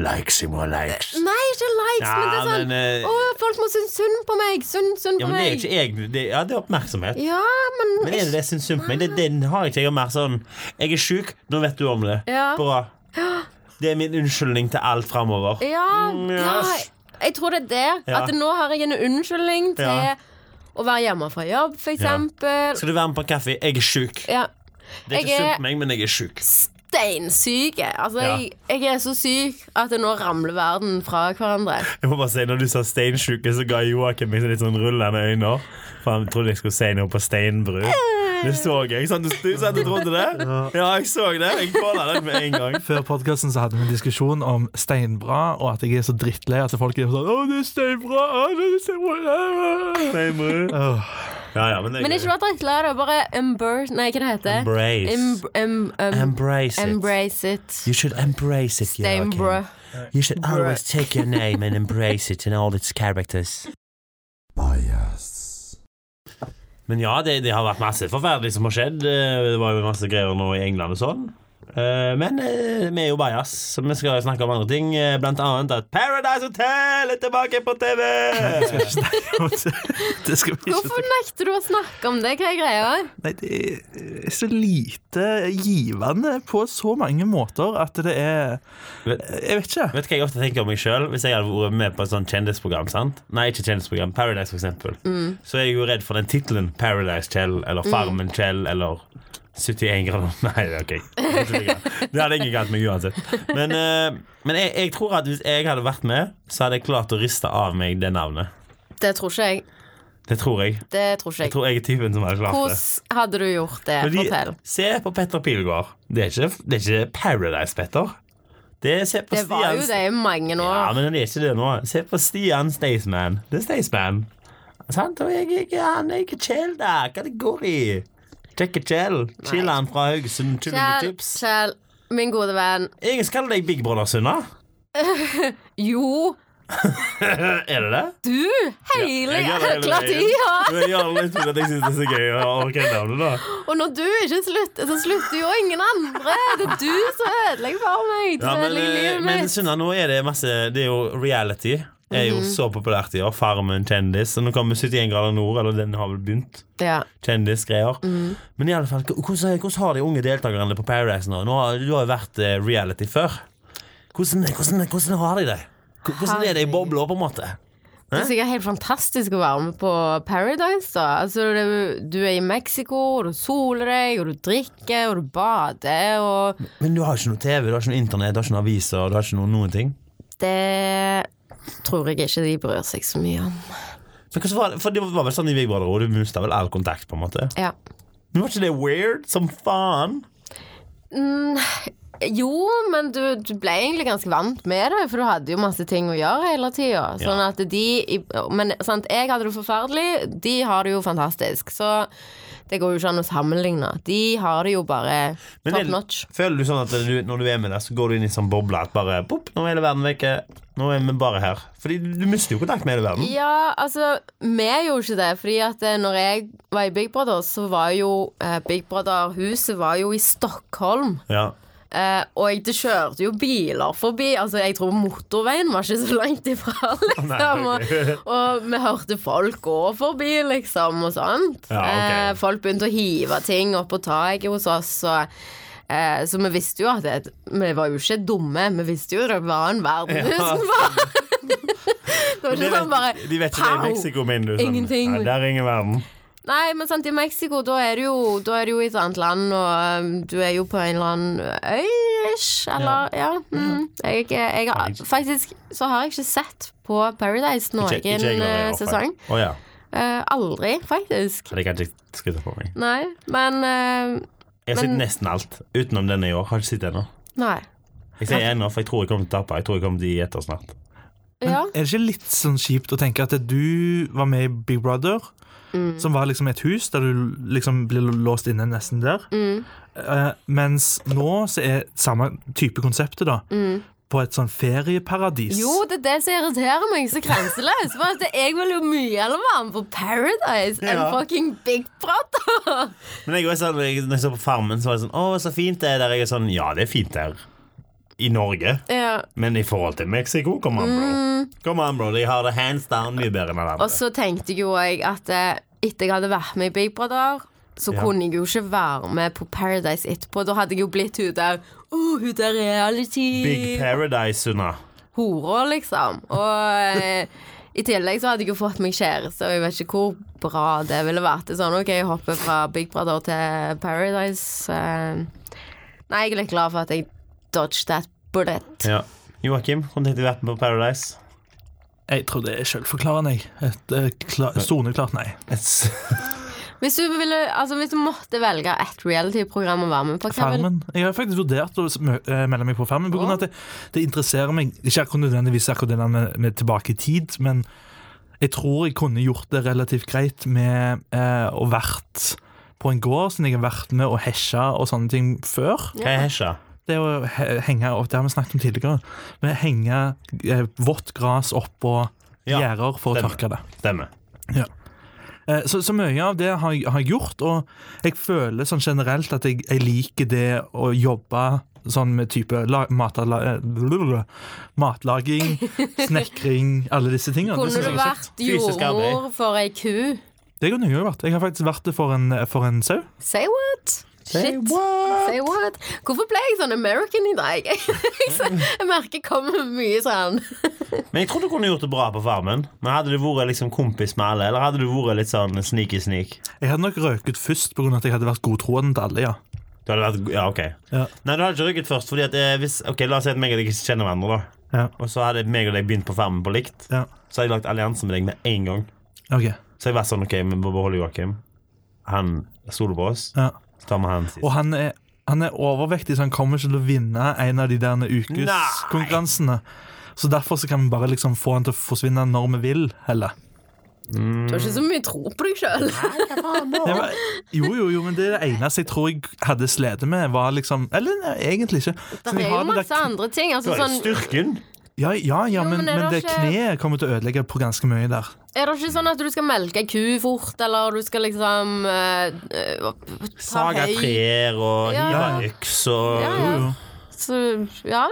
Speaker 1: Likes you more likes.
Speaker 3: Nei, ikke likes,
Speaker 1: Ja,
Speaker 3: men det er
Speaker 1: men,
Speaker 3: sånn
Speaker 1: eh,
Speaker 3: Å, folk må synes synd på meg! Synd, synd
Speaker 1: Ja,
Speaker 3: på
Speaker 1: men det er jo
Speaker 3: meg!
Speaker 1: ikke jeg det, Ja, det er oppmerksomhet.
Speaker 3: Ja, men,
Speaker 1: Men er det det jeg syns synd på meg? Det, den har ikke jeg. Jeg er mer sånn Jeg er sjuk, nå vet du om det.
Speaker 3: Ja.
Speaker 1: Bra. Det er min unnskyldning til alt framover.
Speaker 3: ja,
Speaker 1: Mm,
Speaker 3: ja,
Speaker 1: yes.
Speaker 3: jeg tror det er det.
Speaker 1: Ja.
Speaker 3: At nå har jeg en unnskyldning til
Speaker 1: Ja.
Speaker 3: å være hjemme fra jobb, for eksempel.
Speaker 1: Skal du være med på en kaffe? Jeg er sjuk.
Speaker 3: Ja.
Speaker 1: Det er
Speaker 3: Jeg
Speaker 1: ikke
Speaker 3: er-
Speaker 1: synd på meg, men jeg er sjuk.
Speaker 3: Steinsyke. Altså,
Speaker 1: Ja.
Speaker 3: jeg, jeg er så syk at nå ramler verden fra hverandre.
Speaker 1: Jeg må bare si, når du sa steinsjuke, så ga Joakim meg litt sånn rullende øyne. For han trodde jeg skulle si noe på steinbru.
Speaker 3: Eh.
Speaker 1: Det så jeg. Sant du, sant du trodde det? Ja, jeg så det. Jeg kåla den med en gang.
Speaker 2: Før podkasten hadde vi en diskusjon om steinbra, og at jeg er så drittlei at folk er sånn 'Å, det er steinbra!' Å, det er steinbra. Å,
Speaker 1: Steinbru.
Speaker 2: Åh.
Speaker 1: Ja, ja, men det
Speaker 3: Men
Speaker 1: er
Speaker 3: ikke vær drittlei, da. Bare embrace Nei, hva det heter
Speaker 1: Embrace.
Speaker 3: Em- em- em-
Speaker 1: Embrace it.
Speaker 3: embrace it.
Speaker 1: You should embrace it, Joakim.
Speaker 3: Steinbrød.
Speaker 1: You should
Speaker 3: Bruh.
Speaker 1: always take your name and embrace it in all its characters. Men ja, det, det har vært masse forferdelig som har skjedd. Eh, Det var jo masse greier nå i England og sånn. Eh, Men eh, vi er jo bajas, så vi skal snakke om andre ting. eh, Blant annet at Paradise Hotel er tilbake på TV!
Speaker 2: Det skal vi ikke
Speaker 3: Hvorfor nekter du å snakke om det? Hva er greia?
Speaker 2: Nei, det er så lite givende på så mange måter at det er Jeg vet ikke.
Speaker 1: Vet du hva jeg ofte tenker om meg sjøl? Hvis jeg hadde vært med på et sånt kjendisprogram, sant? Nei, ikke kjendisprogram, Paradise for eksempel,
Speaker 3: Mm.
Speaker 1: så er jeg jo redd for den tittelen Paradise Kjell eller Farmen Kjell eller 71 grader Nei, OK. 71 grader. Det hadde ingen kalt meg uansett. Men, eh, men jeg, jeg tror at hvis jeg hadde vært med, så hadde jeg klart å riste av meg det navnet.
Speaker 3: Det tror ikke jeg.
Speaker 1: Det tror jeg.
Speaker 3: Det tror ikke
Speaker 1: Jeg
Speaker 3: jeg.
Speaker 1: tror jeg er typen som hadde klart det.
Speaker 3: Hvordan hadde du gjort det?
Speaker 1: Fordi,
Speaker 3: Fortell.
Speaker 1: se på Petter Pilgaard. Det er ikke, det er ikke Paradise, Petter. Det, er- se på
Speaker 3: Det var jo
Speaker 1: Stian-
Speaker 3: det i mange
Speaker 1: Ja,
Speaker 3: år.
Speaker 1: men han er ikke det nå. Se på Stian Staysman. Det er Staysman. Sant? Og jeg, jeg, han er ikke chill, da. Kategori. Kjekke chill. Chiller'n fra Haugesund.
Speaker 3: Kjell,
Speaker 1: Kyllingchips.
Speaker 3: Kjell, min gode venn.
Speaker 1: Ingen skal kalle deg Big Brother, Sunna.
Speaker 3: Jo,
Speaker 1: Eh, Er det det?
Speaker 3: du! Hele
Speaker 1: Jeg gjør det hele
Speaker 3: jækla
Speaker 1: veien.
Speaker 3: tida!
Speaker 1: Men Jeg gjør det litt fordi at jeg syns det er så gøy å orke navnet, da.
Speaker 3: Og når du ikke slutter, så slutter jo ingen andre. Det er du som ødelegger for meg. Du
Speaker 1: Ja, men
Speaker 3: ødelegger
Speaker 1: eh,
Speaker 3: livet
Speaker 1: men
Speaker 3: mitt.
Speaker 1: Sunna, nå er det masse Det er jo reality. Er jo
Speaker 3: Mhm.
Speaker 1: så populært i år. Farmen, kjendis. Og nå kommer 71 grader nord, eller den har vel begynt.
Speaker 3: Ja.
Speaker 1: kjendisgreier. Men i alle fall, h- hvordan, hvordan har de unge deltakerne på Paradise nå? nå har, du har jo vært eh, reality før. Hvordan, hvordan, hvordan har de det? H- Hvordan er det i bobla, på en måte?
Speaker 3: Det er sikkert helt fantastisk å være med på Paradise. da altså, det, Du er i Mexico, og du soler deg, og du drikker, og du bader, og
Speaker 1: Men du har ikke noe TV, du har ikke noe internett, du har ikke noe aviser, du har ikke noe noen ting.
Speaker 3: Det tror jeg ikke de bryr seg så mye om.
Speaker 1: Men hvordan var det? For det var vel sånn i Vigvadro, du mista vel all kontakt, på en måte.
Speaker 3: Ja.
Speaker 1: Men var ikke det weird som faen?
Speaker 3: Mm, Jo, men du, du ble egentlig ganske vant med det, for du hadde jo masse ting å gjøre hele tida. Sånn at de i- Men sant, jeg hadde det forferdelig, de har det jo fantastisk. Så det går jo ikke an å sammenligne. De har det jo bare
Speaker 1: Men
Speaker 3: top
Speaker 1: er-
Speaker 3: notch.
Speaker 1: Føler du sånn at du, når du er med der, så går du inn i sånn boble at bare pop, nå er hele verden vekke. Nå er vi bare her. Fordi du mister jo kontakt med hele verden.
Speaker 3: Ja, altså, vi gjorde ikke det. Fordi at eh, når jeg var i Big Brother, så var jo eh, Big Brother-huset var jo i Stockholm.
Speaker 1: Ja.
Speaker 3: Eh, og jeg, det kjørte jo biler forbi. Altså, Jeg tror motorveien var ikke så langt ifra, liksom.
Speaker 1: Nei, ok.
Speaker 3: og, og vi hørte folk gå forbi, liksom, og sånt.
Speaker 1: Ja, ok.
Speaker 3: Eh, folk begynte å hive ting opp på taket hos oss. Og, eh, så vi visste jo at det, Vi var jo ikke dumme, vi visste jo det var en verden
Speaker 1: Ja.
Speaker 3: utenfor. det var
Speaker 1: De
Speaker 3: ikke sånn bare
Speaker 1: vet, de vet ikke det
Speaker 3: pow!
Speaker 1: i Mexico, min du.
Speaker 3: Ingenting.
Speaker 1: Nei, der er ingen verden.
Speaker 3: Nei, men sant, i Mexico, da er du jo, da er du jo i et annet land, og um, du er jo på en eller annen øy, ish, eller Ja.
Speaker 1: Mhm.
Speaker 3: mm. Jeg, jeg, har- faktisk så har jeg ikke sett på Paradise noen
Speaker 1: Ikke- ikke jeg heller, i
Speaker 3: eh,
Speaker 1: hvert fall.
Speaker 3: sesong.
Speaker 1: Å ja.
Speaker 3: Eh, aldri, faktisk.
Speaker 1: Det kan jeg ikke skryte på meg.
Speaker 3: Nei, men eh,
Speaker 1: Jeg har sett
Speaker 3: Men-
Speaker 1: nesten alt utenom denne i år. Har ikke sett ennå.
Speaker 3: Nei.
Speaker 1: Jeg sier ennå, for jeg tror jeg kommer til å tape. Jeg tror jeg kommer til å gi etter snart.
Speaker 3: Ja.
Speaker 2: Er det ikke litt sånn kjipt å tenke at du var med i Big Brother, som var liksom et hus der du liksom blir låst inne nesten der, eh, mens nå så er samme type konseptet da, på et sånn ferieparadis.
Speaker 3: Jo, det er det som irriterer meg så grenseløst. For at jeg vil jo mye heller være med på Paradise enn
Speaker 1: Ja.
Speaker 3: fucking Big Brother.
Speaker 1: Men jeg, er også sånn, jeg, når jeg så på Farmen, så var det sånn Å, så fint det er der. Jeg er sånn Ja, det er fint der. I Norge.
Speaker 3: ja.
Speaker 1: Men i forhold til Mexico, come on, bro. Come on, bro. De har det hands down mye bedre enn alle
Speaker 3: Mm. Og
Speaker 1: andre.
Speaker 3: så tenkte jeg jo jeg at eh, etter jeg hadde vært med i Big Brother, så
Speaker 1: Ja.
Speaker 3: kunne jeg jo ikke være med på Paradise etterpå. Da hadde jeg jo blitt hun der oh, hun der
Speaker 1: Big
Speaker 3: reality
Speaker 1: Paradise, Sunna.
Speaker 3: Hora, liksom. Og eh, i tillegg så hadde jeg jo fått meg kjæreste, og jeg vet ikke hvor bra det ville vært. Det er sånn, OK, jeg hopper fra Big Brother til Paradise. eh. nei, jeg er litt glad for at jeg dodged that bullet.
Speaker 1: Ja. Joakim, hvordan har du vært med på Paradise?
Speaker 2: Jeg tror det er selvforklarende, jeg. Et eh, kla- soneklart nei.
Speaker 3: Hvis du, ville, altså, hvis du måtte velge ett reality-program å være med på, hva ville
Speaker 2: Farmen. Jeg har faktisk vurdert å mø- eh, melde meg på Farmen. På grunn av at det, det interesserer meg ikke akkurat nødvendigvis akkurat det der med, med tilbake i tid, men jeg tror jeg kunne gjort det relativt greit med eh, å vært på en gård, siden jeg har vært med og hesja og sånne ting før.
Speaker 1: Hva er hesja?
Speaker 2: Det å he henge opp, det har vi snakket om tidligere, med å henge eh, vått gras oppå
Speaker 1: Ja,
Speaker 2: gjerder for å
Speaker 1: stemmer.
Speaker 2: tørke det.
Speaker 1: Stemmer.
Speaker 2: Eh, Så, så mye av det har, jeg- har jeg gjort, og jeg føler sånn generelt at jeg, jeg liker det å jobbe sånn med type la, matala, eh, blablabla, matlaging, snekring, alle disse tingene. Det
Speaker 3: Kunne
Speaker 2: synes
Speaker 3: du
Speaker 2: jeg er kjekt.
Speaker 3: vært
Speaker 1: Fysisk arbeid.
Speaker 3: jordmor for ei ku?
Speaker 2: Det kunne jeg jo vært. Jeg har faktisk vært det for en, for en sau.
Speaker 3: Say what? Shit. Say what? Hvorfor ble jeg sånn American i dag? jeg merker jeg kommer med mye sånn
Speaker 1: Men jeg tror du kunne gjort det bra på Farmen. Men Hadde du vært liksom kompis med alle, eller hadde du vært litt sånn sneaky-sneak?
Speaker 2: Jeg hadde nok røket først pga. at jeg hadde vært godtroende til alle, ja.
Speaker 1: Du hadde vært, ja, ok
Speaker 2: Ja.
Speaker 1: Nei, du hadde ikke rykket først fordi at, eh, hvis, Ok, La oss si at meg og deg ikke kjenner hverandre da
Speaker 2: Ja.
Speaker 1: Og så hadde meg og deg begynt på farmen på likt
Speaker 2: ja.
Speaker 1: Så hadde jeg lagt allianse med deg med en gang
Speaker 2: Ok.
Speaker 1: Så jeg var sånn, ok, vi må beholde Joakim Han stoler på oss
Speaker 2: Ja.
Speaker 1: Så tar vi han sist
Speaker 2: Og han er, han er overvektig, så han kommer ikke til å vinne en av de der ukeskonkurransene. Så derfor så kan vi bare liksom få han til å forsvinne når vi vil, heller.
Speaker 3: Du har ikke så mye tro på deg sjøl.
Speaker 2: Det var, jo, jo, jo, men det er det eneste jeg tror jeg hadde slitt med, var liksom Eller nei, egentlig ikke.
Speaker 3: Det
Speaker 2: Så jeg
Speaker 3: er
Speaker 2: har
Speaker 3: jo
Speaker 2: det der
Speaker 3: masse andre ting. Altså,
Speaker 1: Da er det
Speaker 3: sånn,
Speaker 1: styrken
Speaker 2: Ja, ja, ja
Speaker 3: Jo,
Speaker 2: men,
Speaker 3: men er
Speaker 2: men
Speaker 3: det
Speaker 2: det
Speaker 3: ikke-
Speaker 2: kneet kommer til å ødelegge på ganske mye der.
Speaker 3: er det ikke sånn at du skal melke ei ku fort, eller du skal liksom eh, eh, ta
Speaker 1: Saga
Speaker 3: høy
Speaker 1: trær og
Speaker 3: Ja,
Speaker 1: hive
Speaker 2: ja.
Speaker 1: øks og
Speaker 3: Ja,
Speaker 2: Jo,
Speaker 3: ja.
Speaker 2: jo.
Speaker 3: Så, ja.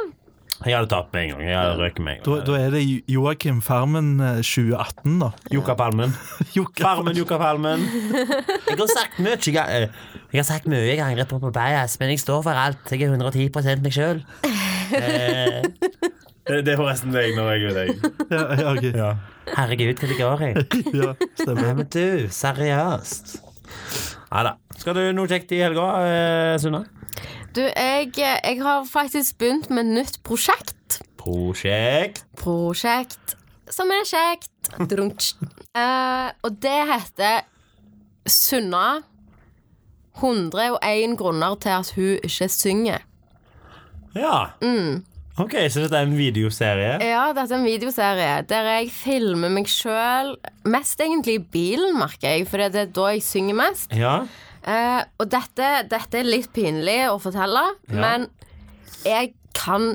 Speaker 1: Jeg hadde tapt med en gang Jeg hadde røket med en
Speaker 2: Da,
Speaker 1: gang
Speaker 2: da er det Joakim Farmen eh, 2018, da.
Speaker 1: Jukka Palmen
Speaker 2: Joakim-
Speaker 1: Farmen, Jukka Palmen Jeg har sagt mye Jeg har- jeg har sagt mye jeg angrer på på bias Men jeg står for alt Jeg er 110% meg selv eh, det, det er forresten deg når jeg er deg
Speaker 2: Ja, ja, ok. ja.
Speaker 1: Herregud, hva det går i?
Speaker 2: stemmer.
Speaker 1: Nei, men du, seriøst. Nei da. Skal du noe kjekt i helga, eh, Sunna?
Speaker 3: eh, Du, jeg, jeg har faktisk begynt med et nytt prosjekt.
Speaker 1: Prosjekt.
Speaker 3: prosjekt som er kjekt. Drunch. Eh, og det heter Sunna 101 grunner til at hun ikke synger.
Speaker 1: Ja. Ok, så dette er en videoserie.
Speaker 3: Ja, dette er en videoserie der jeg filmer meg sjøl. Mest egentlig i bilen, merker jeg, for det er da jeg synger mest.
Speaker 1: Ja.
Speaker 3: Eh, og dette, dette er litt pinlig å fortelle,
Speaker 1: Ja.
Speaker 3: men jeg kan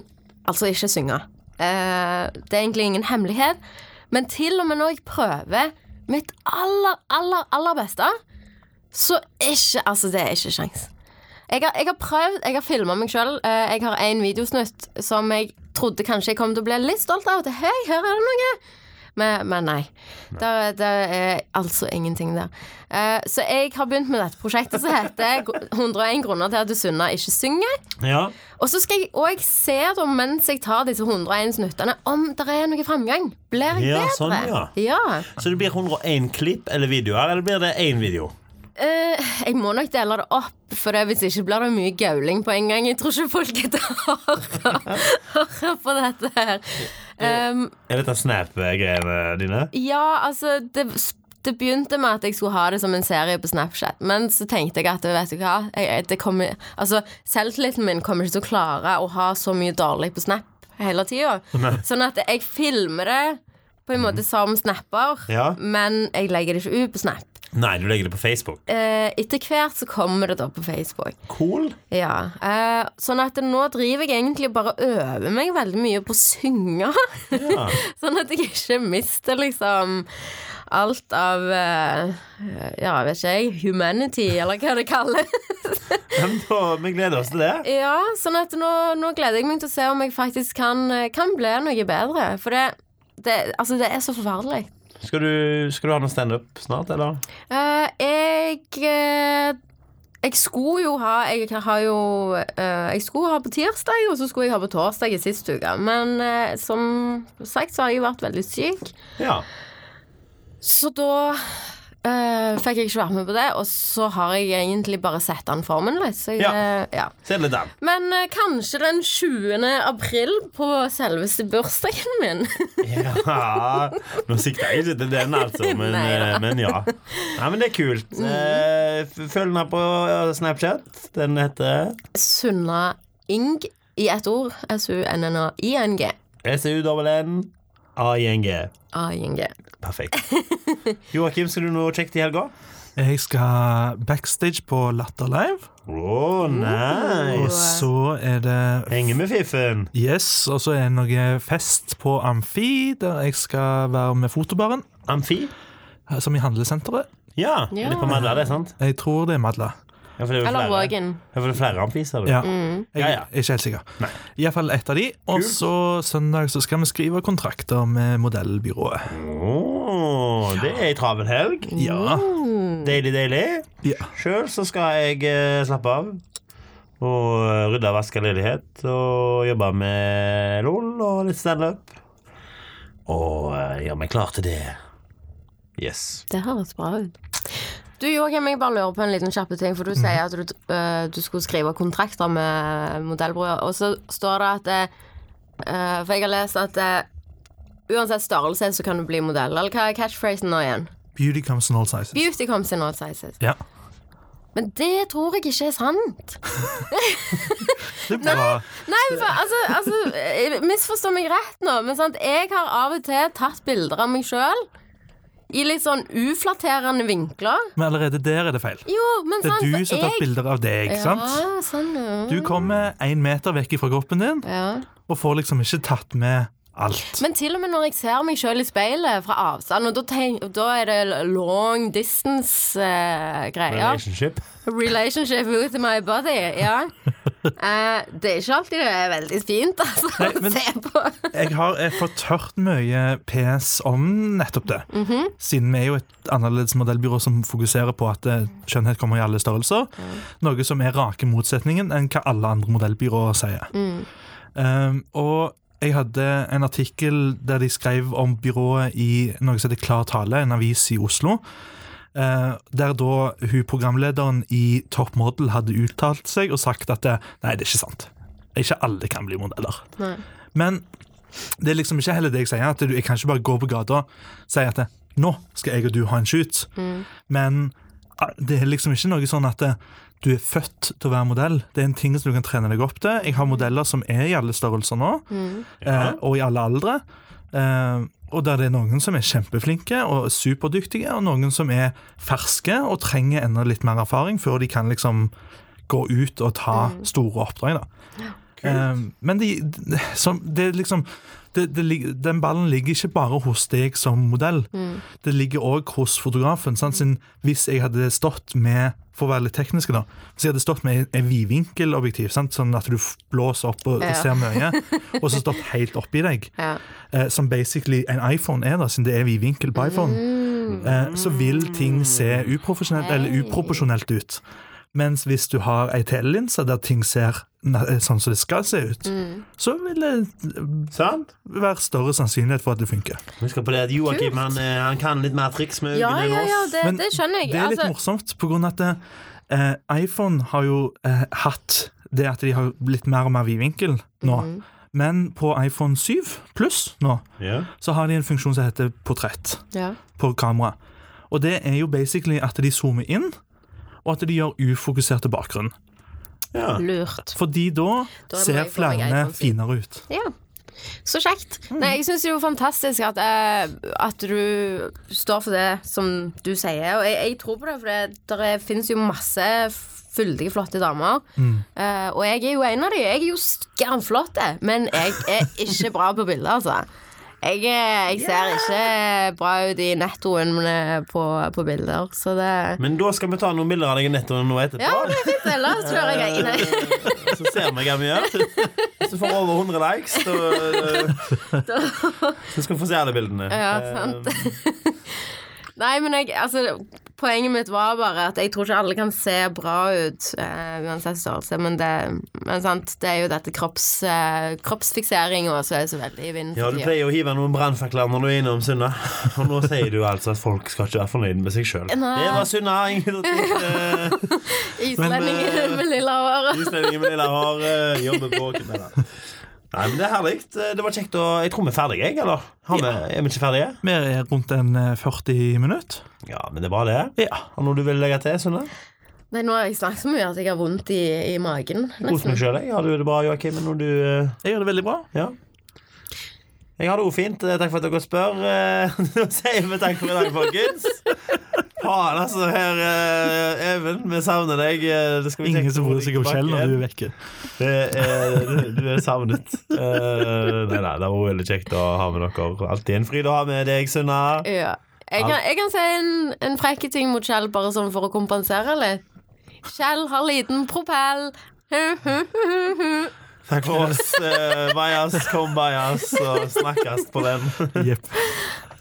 Speaker 3: altså ikke synge. Eh, det er egentlig ingen hemmelighet. Men til og med når jeg prøver mitt aller, aller, aller beste, så ikke Altså, det er ikke kjangs. Jeg har, jeg har prøvd, jeg har filma meg sjøl. jeg har én videosnutt som jeg trodde kanskje jeg kom til å bli litt stolt av. Til, Hei, her er det noe men, men nei. Det, det er altså ingenting der. Eh, så jeg har begynt med dette prosjektet som heter 101 grunner til at du Sunna ikke synger.
Speaker 1: ja.
Speaker 3: Og så skal jeg òg se da, mens jeg tar disse 101 snuttene, om det er noe framgang. Blir jeg
Speaker 1: Ja,
Speaker 3: bedre?
Speaker 1: sånn, ja.
Speaker 3: Ja.
Speaker 1: Så det blir 101 klipp eller videoer, eller blir det én video?
Speaker 3: Eh, jeg må nok dele det opp, for det- hvis ikke blir det mye gauling på en gang. Jeg tror ikke folk gidder å høre- høre på dette her. Um,
Speaker 1: Er dette Snap-greiene dine?
Speaker 3: Ja, altså det, det begynte med at jeg skulle ha det som en serie på Snapchat. Men så tenkte jeg at vet du hva jeg, jeg, det kommer, altså, Selvtilliten min kommer ikke til å klare å ha så mye dårlig på Snap hele tida. Sånn at jeg filmer det på en måte som snapper,
Speaker 1: Ja.
Speaker 3: men jeg legger det ikke ut på Snap.
Speaker 1: Nei, du legger det på Facebook.
Speaker 3: Eh, etter hvert så kommer det da på Facebook.
Speaker 1: Cool.
Speaker 3: Ja, eh, sånn at nå driver jeg egentlig bare og øver meg veldig mye på å synge. sånn at jeg ikke mister liksom alt av eh, Ja, vet ikke jeg. Humanity, eller hva det kalles.
Speaker 1: Ja, men da, vi gleder oss til det.
Speaker 3: ja, sånn at nå, nå gleder jeg meg til å se om jeg faktisk kan, eh, kan bli noe bedre. For det, det, altså, det er så forferdelig.
Speaker 1: Skal du, skal du ha noe standup snart, eller?
Speaker 3: Eh, jeg eh, Jeg skulle jo ha Jeg har jo eh, Jeg skulle ha på tirsdag, og så skulle jeg ha på torsdag i sist uke. Men eh, som sagt så har jeg vært veldig syk,
Speaker 1: Ja.
Speaker 3: så da eh, fikk jeg ikke være med på det. Og så har jeg egentlig bare sett an formen litt. Så jeg,
Speaker 1: Ja.
Speaker 3: eh, ja.
Speaker 1: Se litt den.
Speaker 3: Men eh, kanskje den 20. april, på selveste bursdagen min.
Speaker 1: Ja. Nå sikter jeg ikke til den, altså, men,
Speaker 3: Neida.
Speaker 1: eh, men ja. Nei, men det er kult. Eh, f- Følg den her på ja, Snapchat. Den heter
Speaker 3: Sunna Ing i ett ord. S-U-N-N-A-I-N-G.
Speaker 1: SU-NN-A-I-N-G.
Speaker 3: A-I-N-G.
Speaker 1: Perfekt. Joakim, skal du noe kjekt i helga?
Speaker 2: Jeg skal backstage på Latter Live,
Speaker 1: Å, nice.
Speaker 2: og så er det
Speaker 1: Henge med fiffen.
Speaker 2: Yes, og så er det noe fest på Amfi, der jeg skal være med fotobaren,
Speaker 1: Amfi?
Speaker 2: eh, som i handlesenteret.
Speaker 1: Ja.
Speaker 3: Ja.
Speaker 1: Det er på Madla, det, sant?
Speaker 2: Jeg tror det er Madla.
Speaker 1: Ja, for det er jo
Speaker 3: Eller
Speaker 1: flere.
Speaker 3: Vågen.
Speaker 1: Ja, for det er flere Amfi, sa du?
Speaker 2: Ja.
Speaker 1: Ja,
Speaker 3: Mm.
Speaker 2: Jeg
Speaker 1: ja.
Speaker 2: er ikke helt sikker. Iallfall ett av de. Og
Speaker 1: Kult.
Speaker 2: så søndag så skal vi skrive kontrakter med modellbyrået.
Speaker 1: Åh, det er ei travel helg.
Speaker 2: Ja.
Speaker 3: Mm.
Speaker 1: Deilig, deilig.
Speaker 2: Mm. ja.
Speaker 1: Sjøl så skal jeg eh, slappe av. Og eh, rydde og vaske leilighet og jobbe med LOL og litt standup. Og eh, gjøre meg klar til det. Yes.
Speaker 3: Det høres bra ut. Du Joakim, jeg bare lurer på en liten kjappe ting. For du
Speaker 2: Mhm.
Speaker 3: sier at du, eh, du skulle skrive kontrakter med modellbror, og så står det at eh, eh, For jeg har lest at eh, uansett størrelse så kan du bli modell. Eller hva er catchphrasen nå igjen?
Speaker 2: Beauty comes in all sizes.
Speaker 3: Beauty comes in all sizes.
Speaker 2: Ja.
Speaker 3: Men det tror jeg ikke er sant.
Speaker 2: Det er bra.
Speaker 3: Nei, men for, altså, altså eh, Misforstå meg rett nå, men sant? jeg har av og til tatt bilder av meg sjøl i litt sånn uflatterende vinkler.
Speaker 2: Men allerede der er det feil.
Speaker 3: Jo, men
Speaker 2: Det
Speaker 3: sant
Speaker 2: er du som har tatt
Speaker 3: jeg-
Speaker 2: bilder av deg, sant?
Speaker 3: Ja, sånn, ja.
Speaker 2: Du kommer én meter vekk fra kroppen din
Speaker 3: ja.
Speaker 2: og får liksom ikke tatt med alt.
Speaker 3: Men til og med når jeg ser meg sjøl i speilet fra avstand, og da, tenk, da er det long distance-greier
Speaker 1: Relationship.
Speaker 3: Relationship with my body. Ja. Eh, det er ikke alltid det er veldig fint, altså,
Speaker 2: Nei,
Speaker 3: å
Speaker 2: men-
Speaker 3: se på.
Speaker 2: Jeg har eh, fått hørt mye PS om nettopp det. Siden vi er jo et annerledes modellbyrå som fokuserer på at eh, skjønnhet kommer i alle størrelser. Noe som er rake motsetningen enn hva alle andre modellbyråer sier. Um, og jeg hadde en artikkel der de skrev om byrået i noe som heter Klar tale, en avis i Oslo. Eh, der da hun programlederen i Top Model hadde eh, uttalt seg og sagt at det, nei, det er ikke sant. Ikke alle kan bli modeller.
Speaker 3: Nei.
Speaker 2: Men Det er liksom ikke heller det jeg sier, at du, jeg kan ikke bare gå på gata og si at det, nå skal jeg og du ha en shoot. Men ah, det er liksom ikke noe sånn at det, du er født til å være modell. Det er en ting som du kan trene deg opp til. Jeg har modeller som er i alle størrelser nå, eh, og i alle aldre. Eh, og der det er noen som er kjempeflinke og superdyktige, og noen som er ferske og trenger enda litt mer erfaring før de kan liksom gå ut og ta store oppdrag. da. Eh, men de, de, som, det er liksom det, det, lig- Den ballen ligger ikke bare hos deg som modell.
Speaker 3: Mm.
Speaker 2: Det ligger òg hos fotografen. Sant? Sin, hvis jeg hadde stått med for å være litt teknisk da, Hvis jeg hadde stått med en vidvinkelobjektiv, sant? sånn at du f- blåser opp og,
Speaker 3: Ja.
Speaker 2: og ser mye, og så stått helt oppi deg,
Speaker 3: Ja.
Speaker 2: eh, som basically en iPhone er, da, siden det er vidvinkel på iPhone,
Speaker 3: Mm.
Speaker 2: eh, så vil ting se uprofesjonelt eller uproporsjonelt ut. Mens hvis du har ei telelinse der ting ser na- eh, sånn som det skal se ut,
Speaker 3: Mm.
Speaker 2: så vil det
Speaker 6: Sant?
Speaker 2: være større sannsynlighet for at det funker.
Speaker 6: Husk på det at Joakim han, eh, han kan litt mer triks med
Speaker 3: Ja,
Speaker 6: øynene
Speaker 3: ja,
Speaker 6: enn
Speaker 3: ja,
Speaker 6: oss.
Speaker 3: det,
Speaker 2: Men
Speaker 3: det skjønner jeg.
Speaker 2: Det er litt
Speaker 3: altså,
Speaker 2: morsomt, på grunn av at eh, iPhone har jo eh, hatt det at de har blitt mer og mer vidvinkel nå.
Speaker 3: Mm.
Speaker 2: Men på iPhone 7 pluss nå,
Speaker 6: Ja.
Speaker 2: så har de en funksjon som heter portrett
Speaker 3: ja.
Speaker 2: på kamera. Og det er jo basically at de zoomer inn, og at de gjør ufokuserte bakgrunn.
Speaker 6: Ja.
Speaker 3: Lurt.
Speaker 2: Fordi da,
Speaker 3: Da må
Speaker 2: ser
Speaker 3: jeg få meg
Speaker 2: flere
Speaker 3: iPhone 7.
Speaker 2: finere ut.
Speaker 3: Ja. Så kjekt. Nei, jeg syns det er jo fantastisk at, eh, at du står for det som du sier. Og jeg, jeg tror på det, for det der finnes jo masse fyldige, flotte damer. Eh, og jeg er jo en av de. Jeg er jo skamflott, jeg, men jeg er ikke bra på bilder, altså. Jeg, er- jeg ser ikke bra ut i nettoen eh, på, på bilder, så det
Speaker 1: Men da skal vi ta noen bilder av deg i nettoen nå etterpå.
Speaker 3: Ja, det er fint. Ellers hører jeg Nei,
Speaker 1: Så ser vi hva vi gjør. Hvis du får over 100 likes, så, så skal vi få se alle bildene.
Speaker 3: Ja, sant.
Speaker 1: Eh,
Speaker 3: Nei, men jeg, altså, poenget mitt var bare at jeg tror ikke alle kan se bra ut eh, uansett størrelse, men det, men sant, det er jo dette kropps, uh, kroppsfikseringa som er så veldig i vinden.
Speaker 1: Ja, Du
Speaker 3: for tiden.
Speaker 1: pleier å hive noen brannfakler når du er innom Sunna. Og nå sier du altså at folk skal ikke være fornøyd med seg sjøl. Det
Speaker 3: Nei.
Speaker 1: var Sunna. Ingrid Thorsen.
Speaker 3: Islendingen
Speaker 1: Men, eh,
Speaker 3: med lilla hår.
Speaker 1: Islendingen med lilla hår eh, jobber på åken med det. Nei, men Det er herlig. Eh, Det var kjekt å Jeg tror vi er ferdige, jeg, eller? Har vi, er vi ikke ferdige?
Speaker 2: Vi er rundt en eh, 40 minutter.
Speaker 1: Ja, men det er bra, det.
Speaker 2: Ja.
Speaker 1: Har noe du vil legge til, Sunna?
Speaker 3: Nei, nå har jeg snakket så mye at jeg har vondt i, i magen.
Speaker 1: Kos meg
Speaker 3: Nesten.
Speaker 1: sjøl, jeg. Har du det bra, Joakim? Når du eh,
Speaker 2: Jeg gjør det veldig bra.
Speaker 1: Ja. Jeg har det òg fint. Eh, Takk for at dere spør. Eh, Nå sier vi takk for i dag, folkens. Faen, altså. Her, eh, Even, vi savner deg. Eh, Det skal vi
Speaker 2: Ingen
Speaker 1: sjekke
Speaker 2: som
Speaker 1: når
Speaker 2: bryr
Speaker 1: du
Speaker 2: seg om
Speaker 1: tilbake
Speaker 2: Kjell når
Speaker 1: igjen.
Speaker 2: du er vekke.
Speaker 1: Det er- Du du er savnet. Eh, Nei, nei, det var veldig kjekt å ha med dere. Alltid en fryd å ha med deg, Sunna.
Speaker 3: Ja. Jeg kan, jeg kan si en, en frekke ting mot Kjell, bare sånn for å kompensere litt. Kjell har liten propell.
Speaker 1: Takk for oss. Eh, Vajas, kom bajas, og snakkes på den.
Speaker 2: Jepp.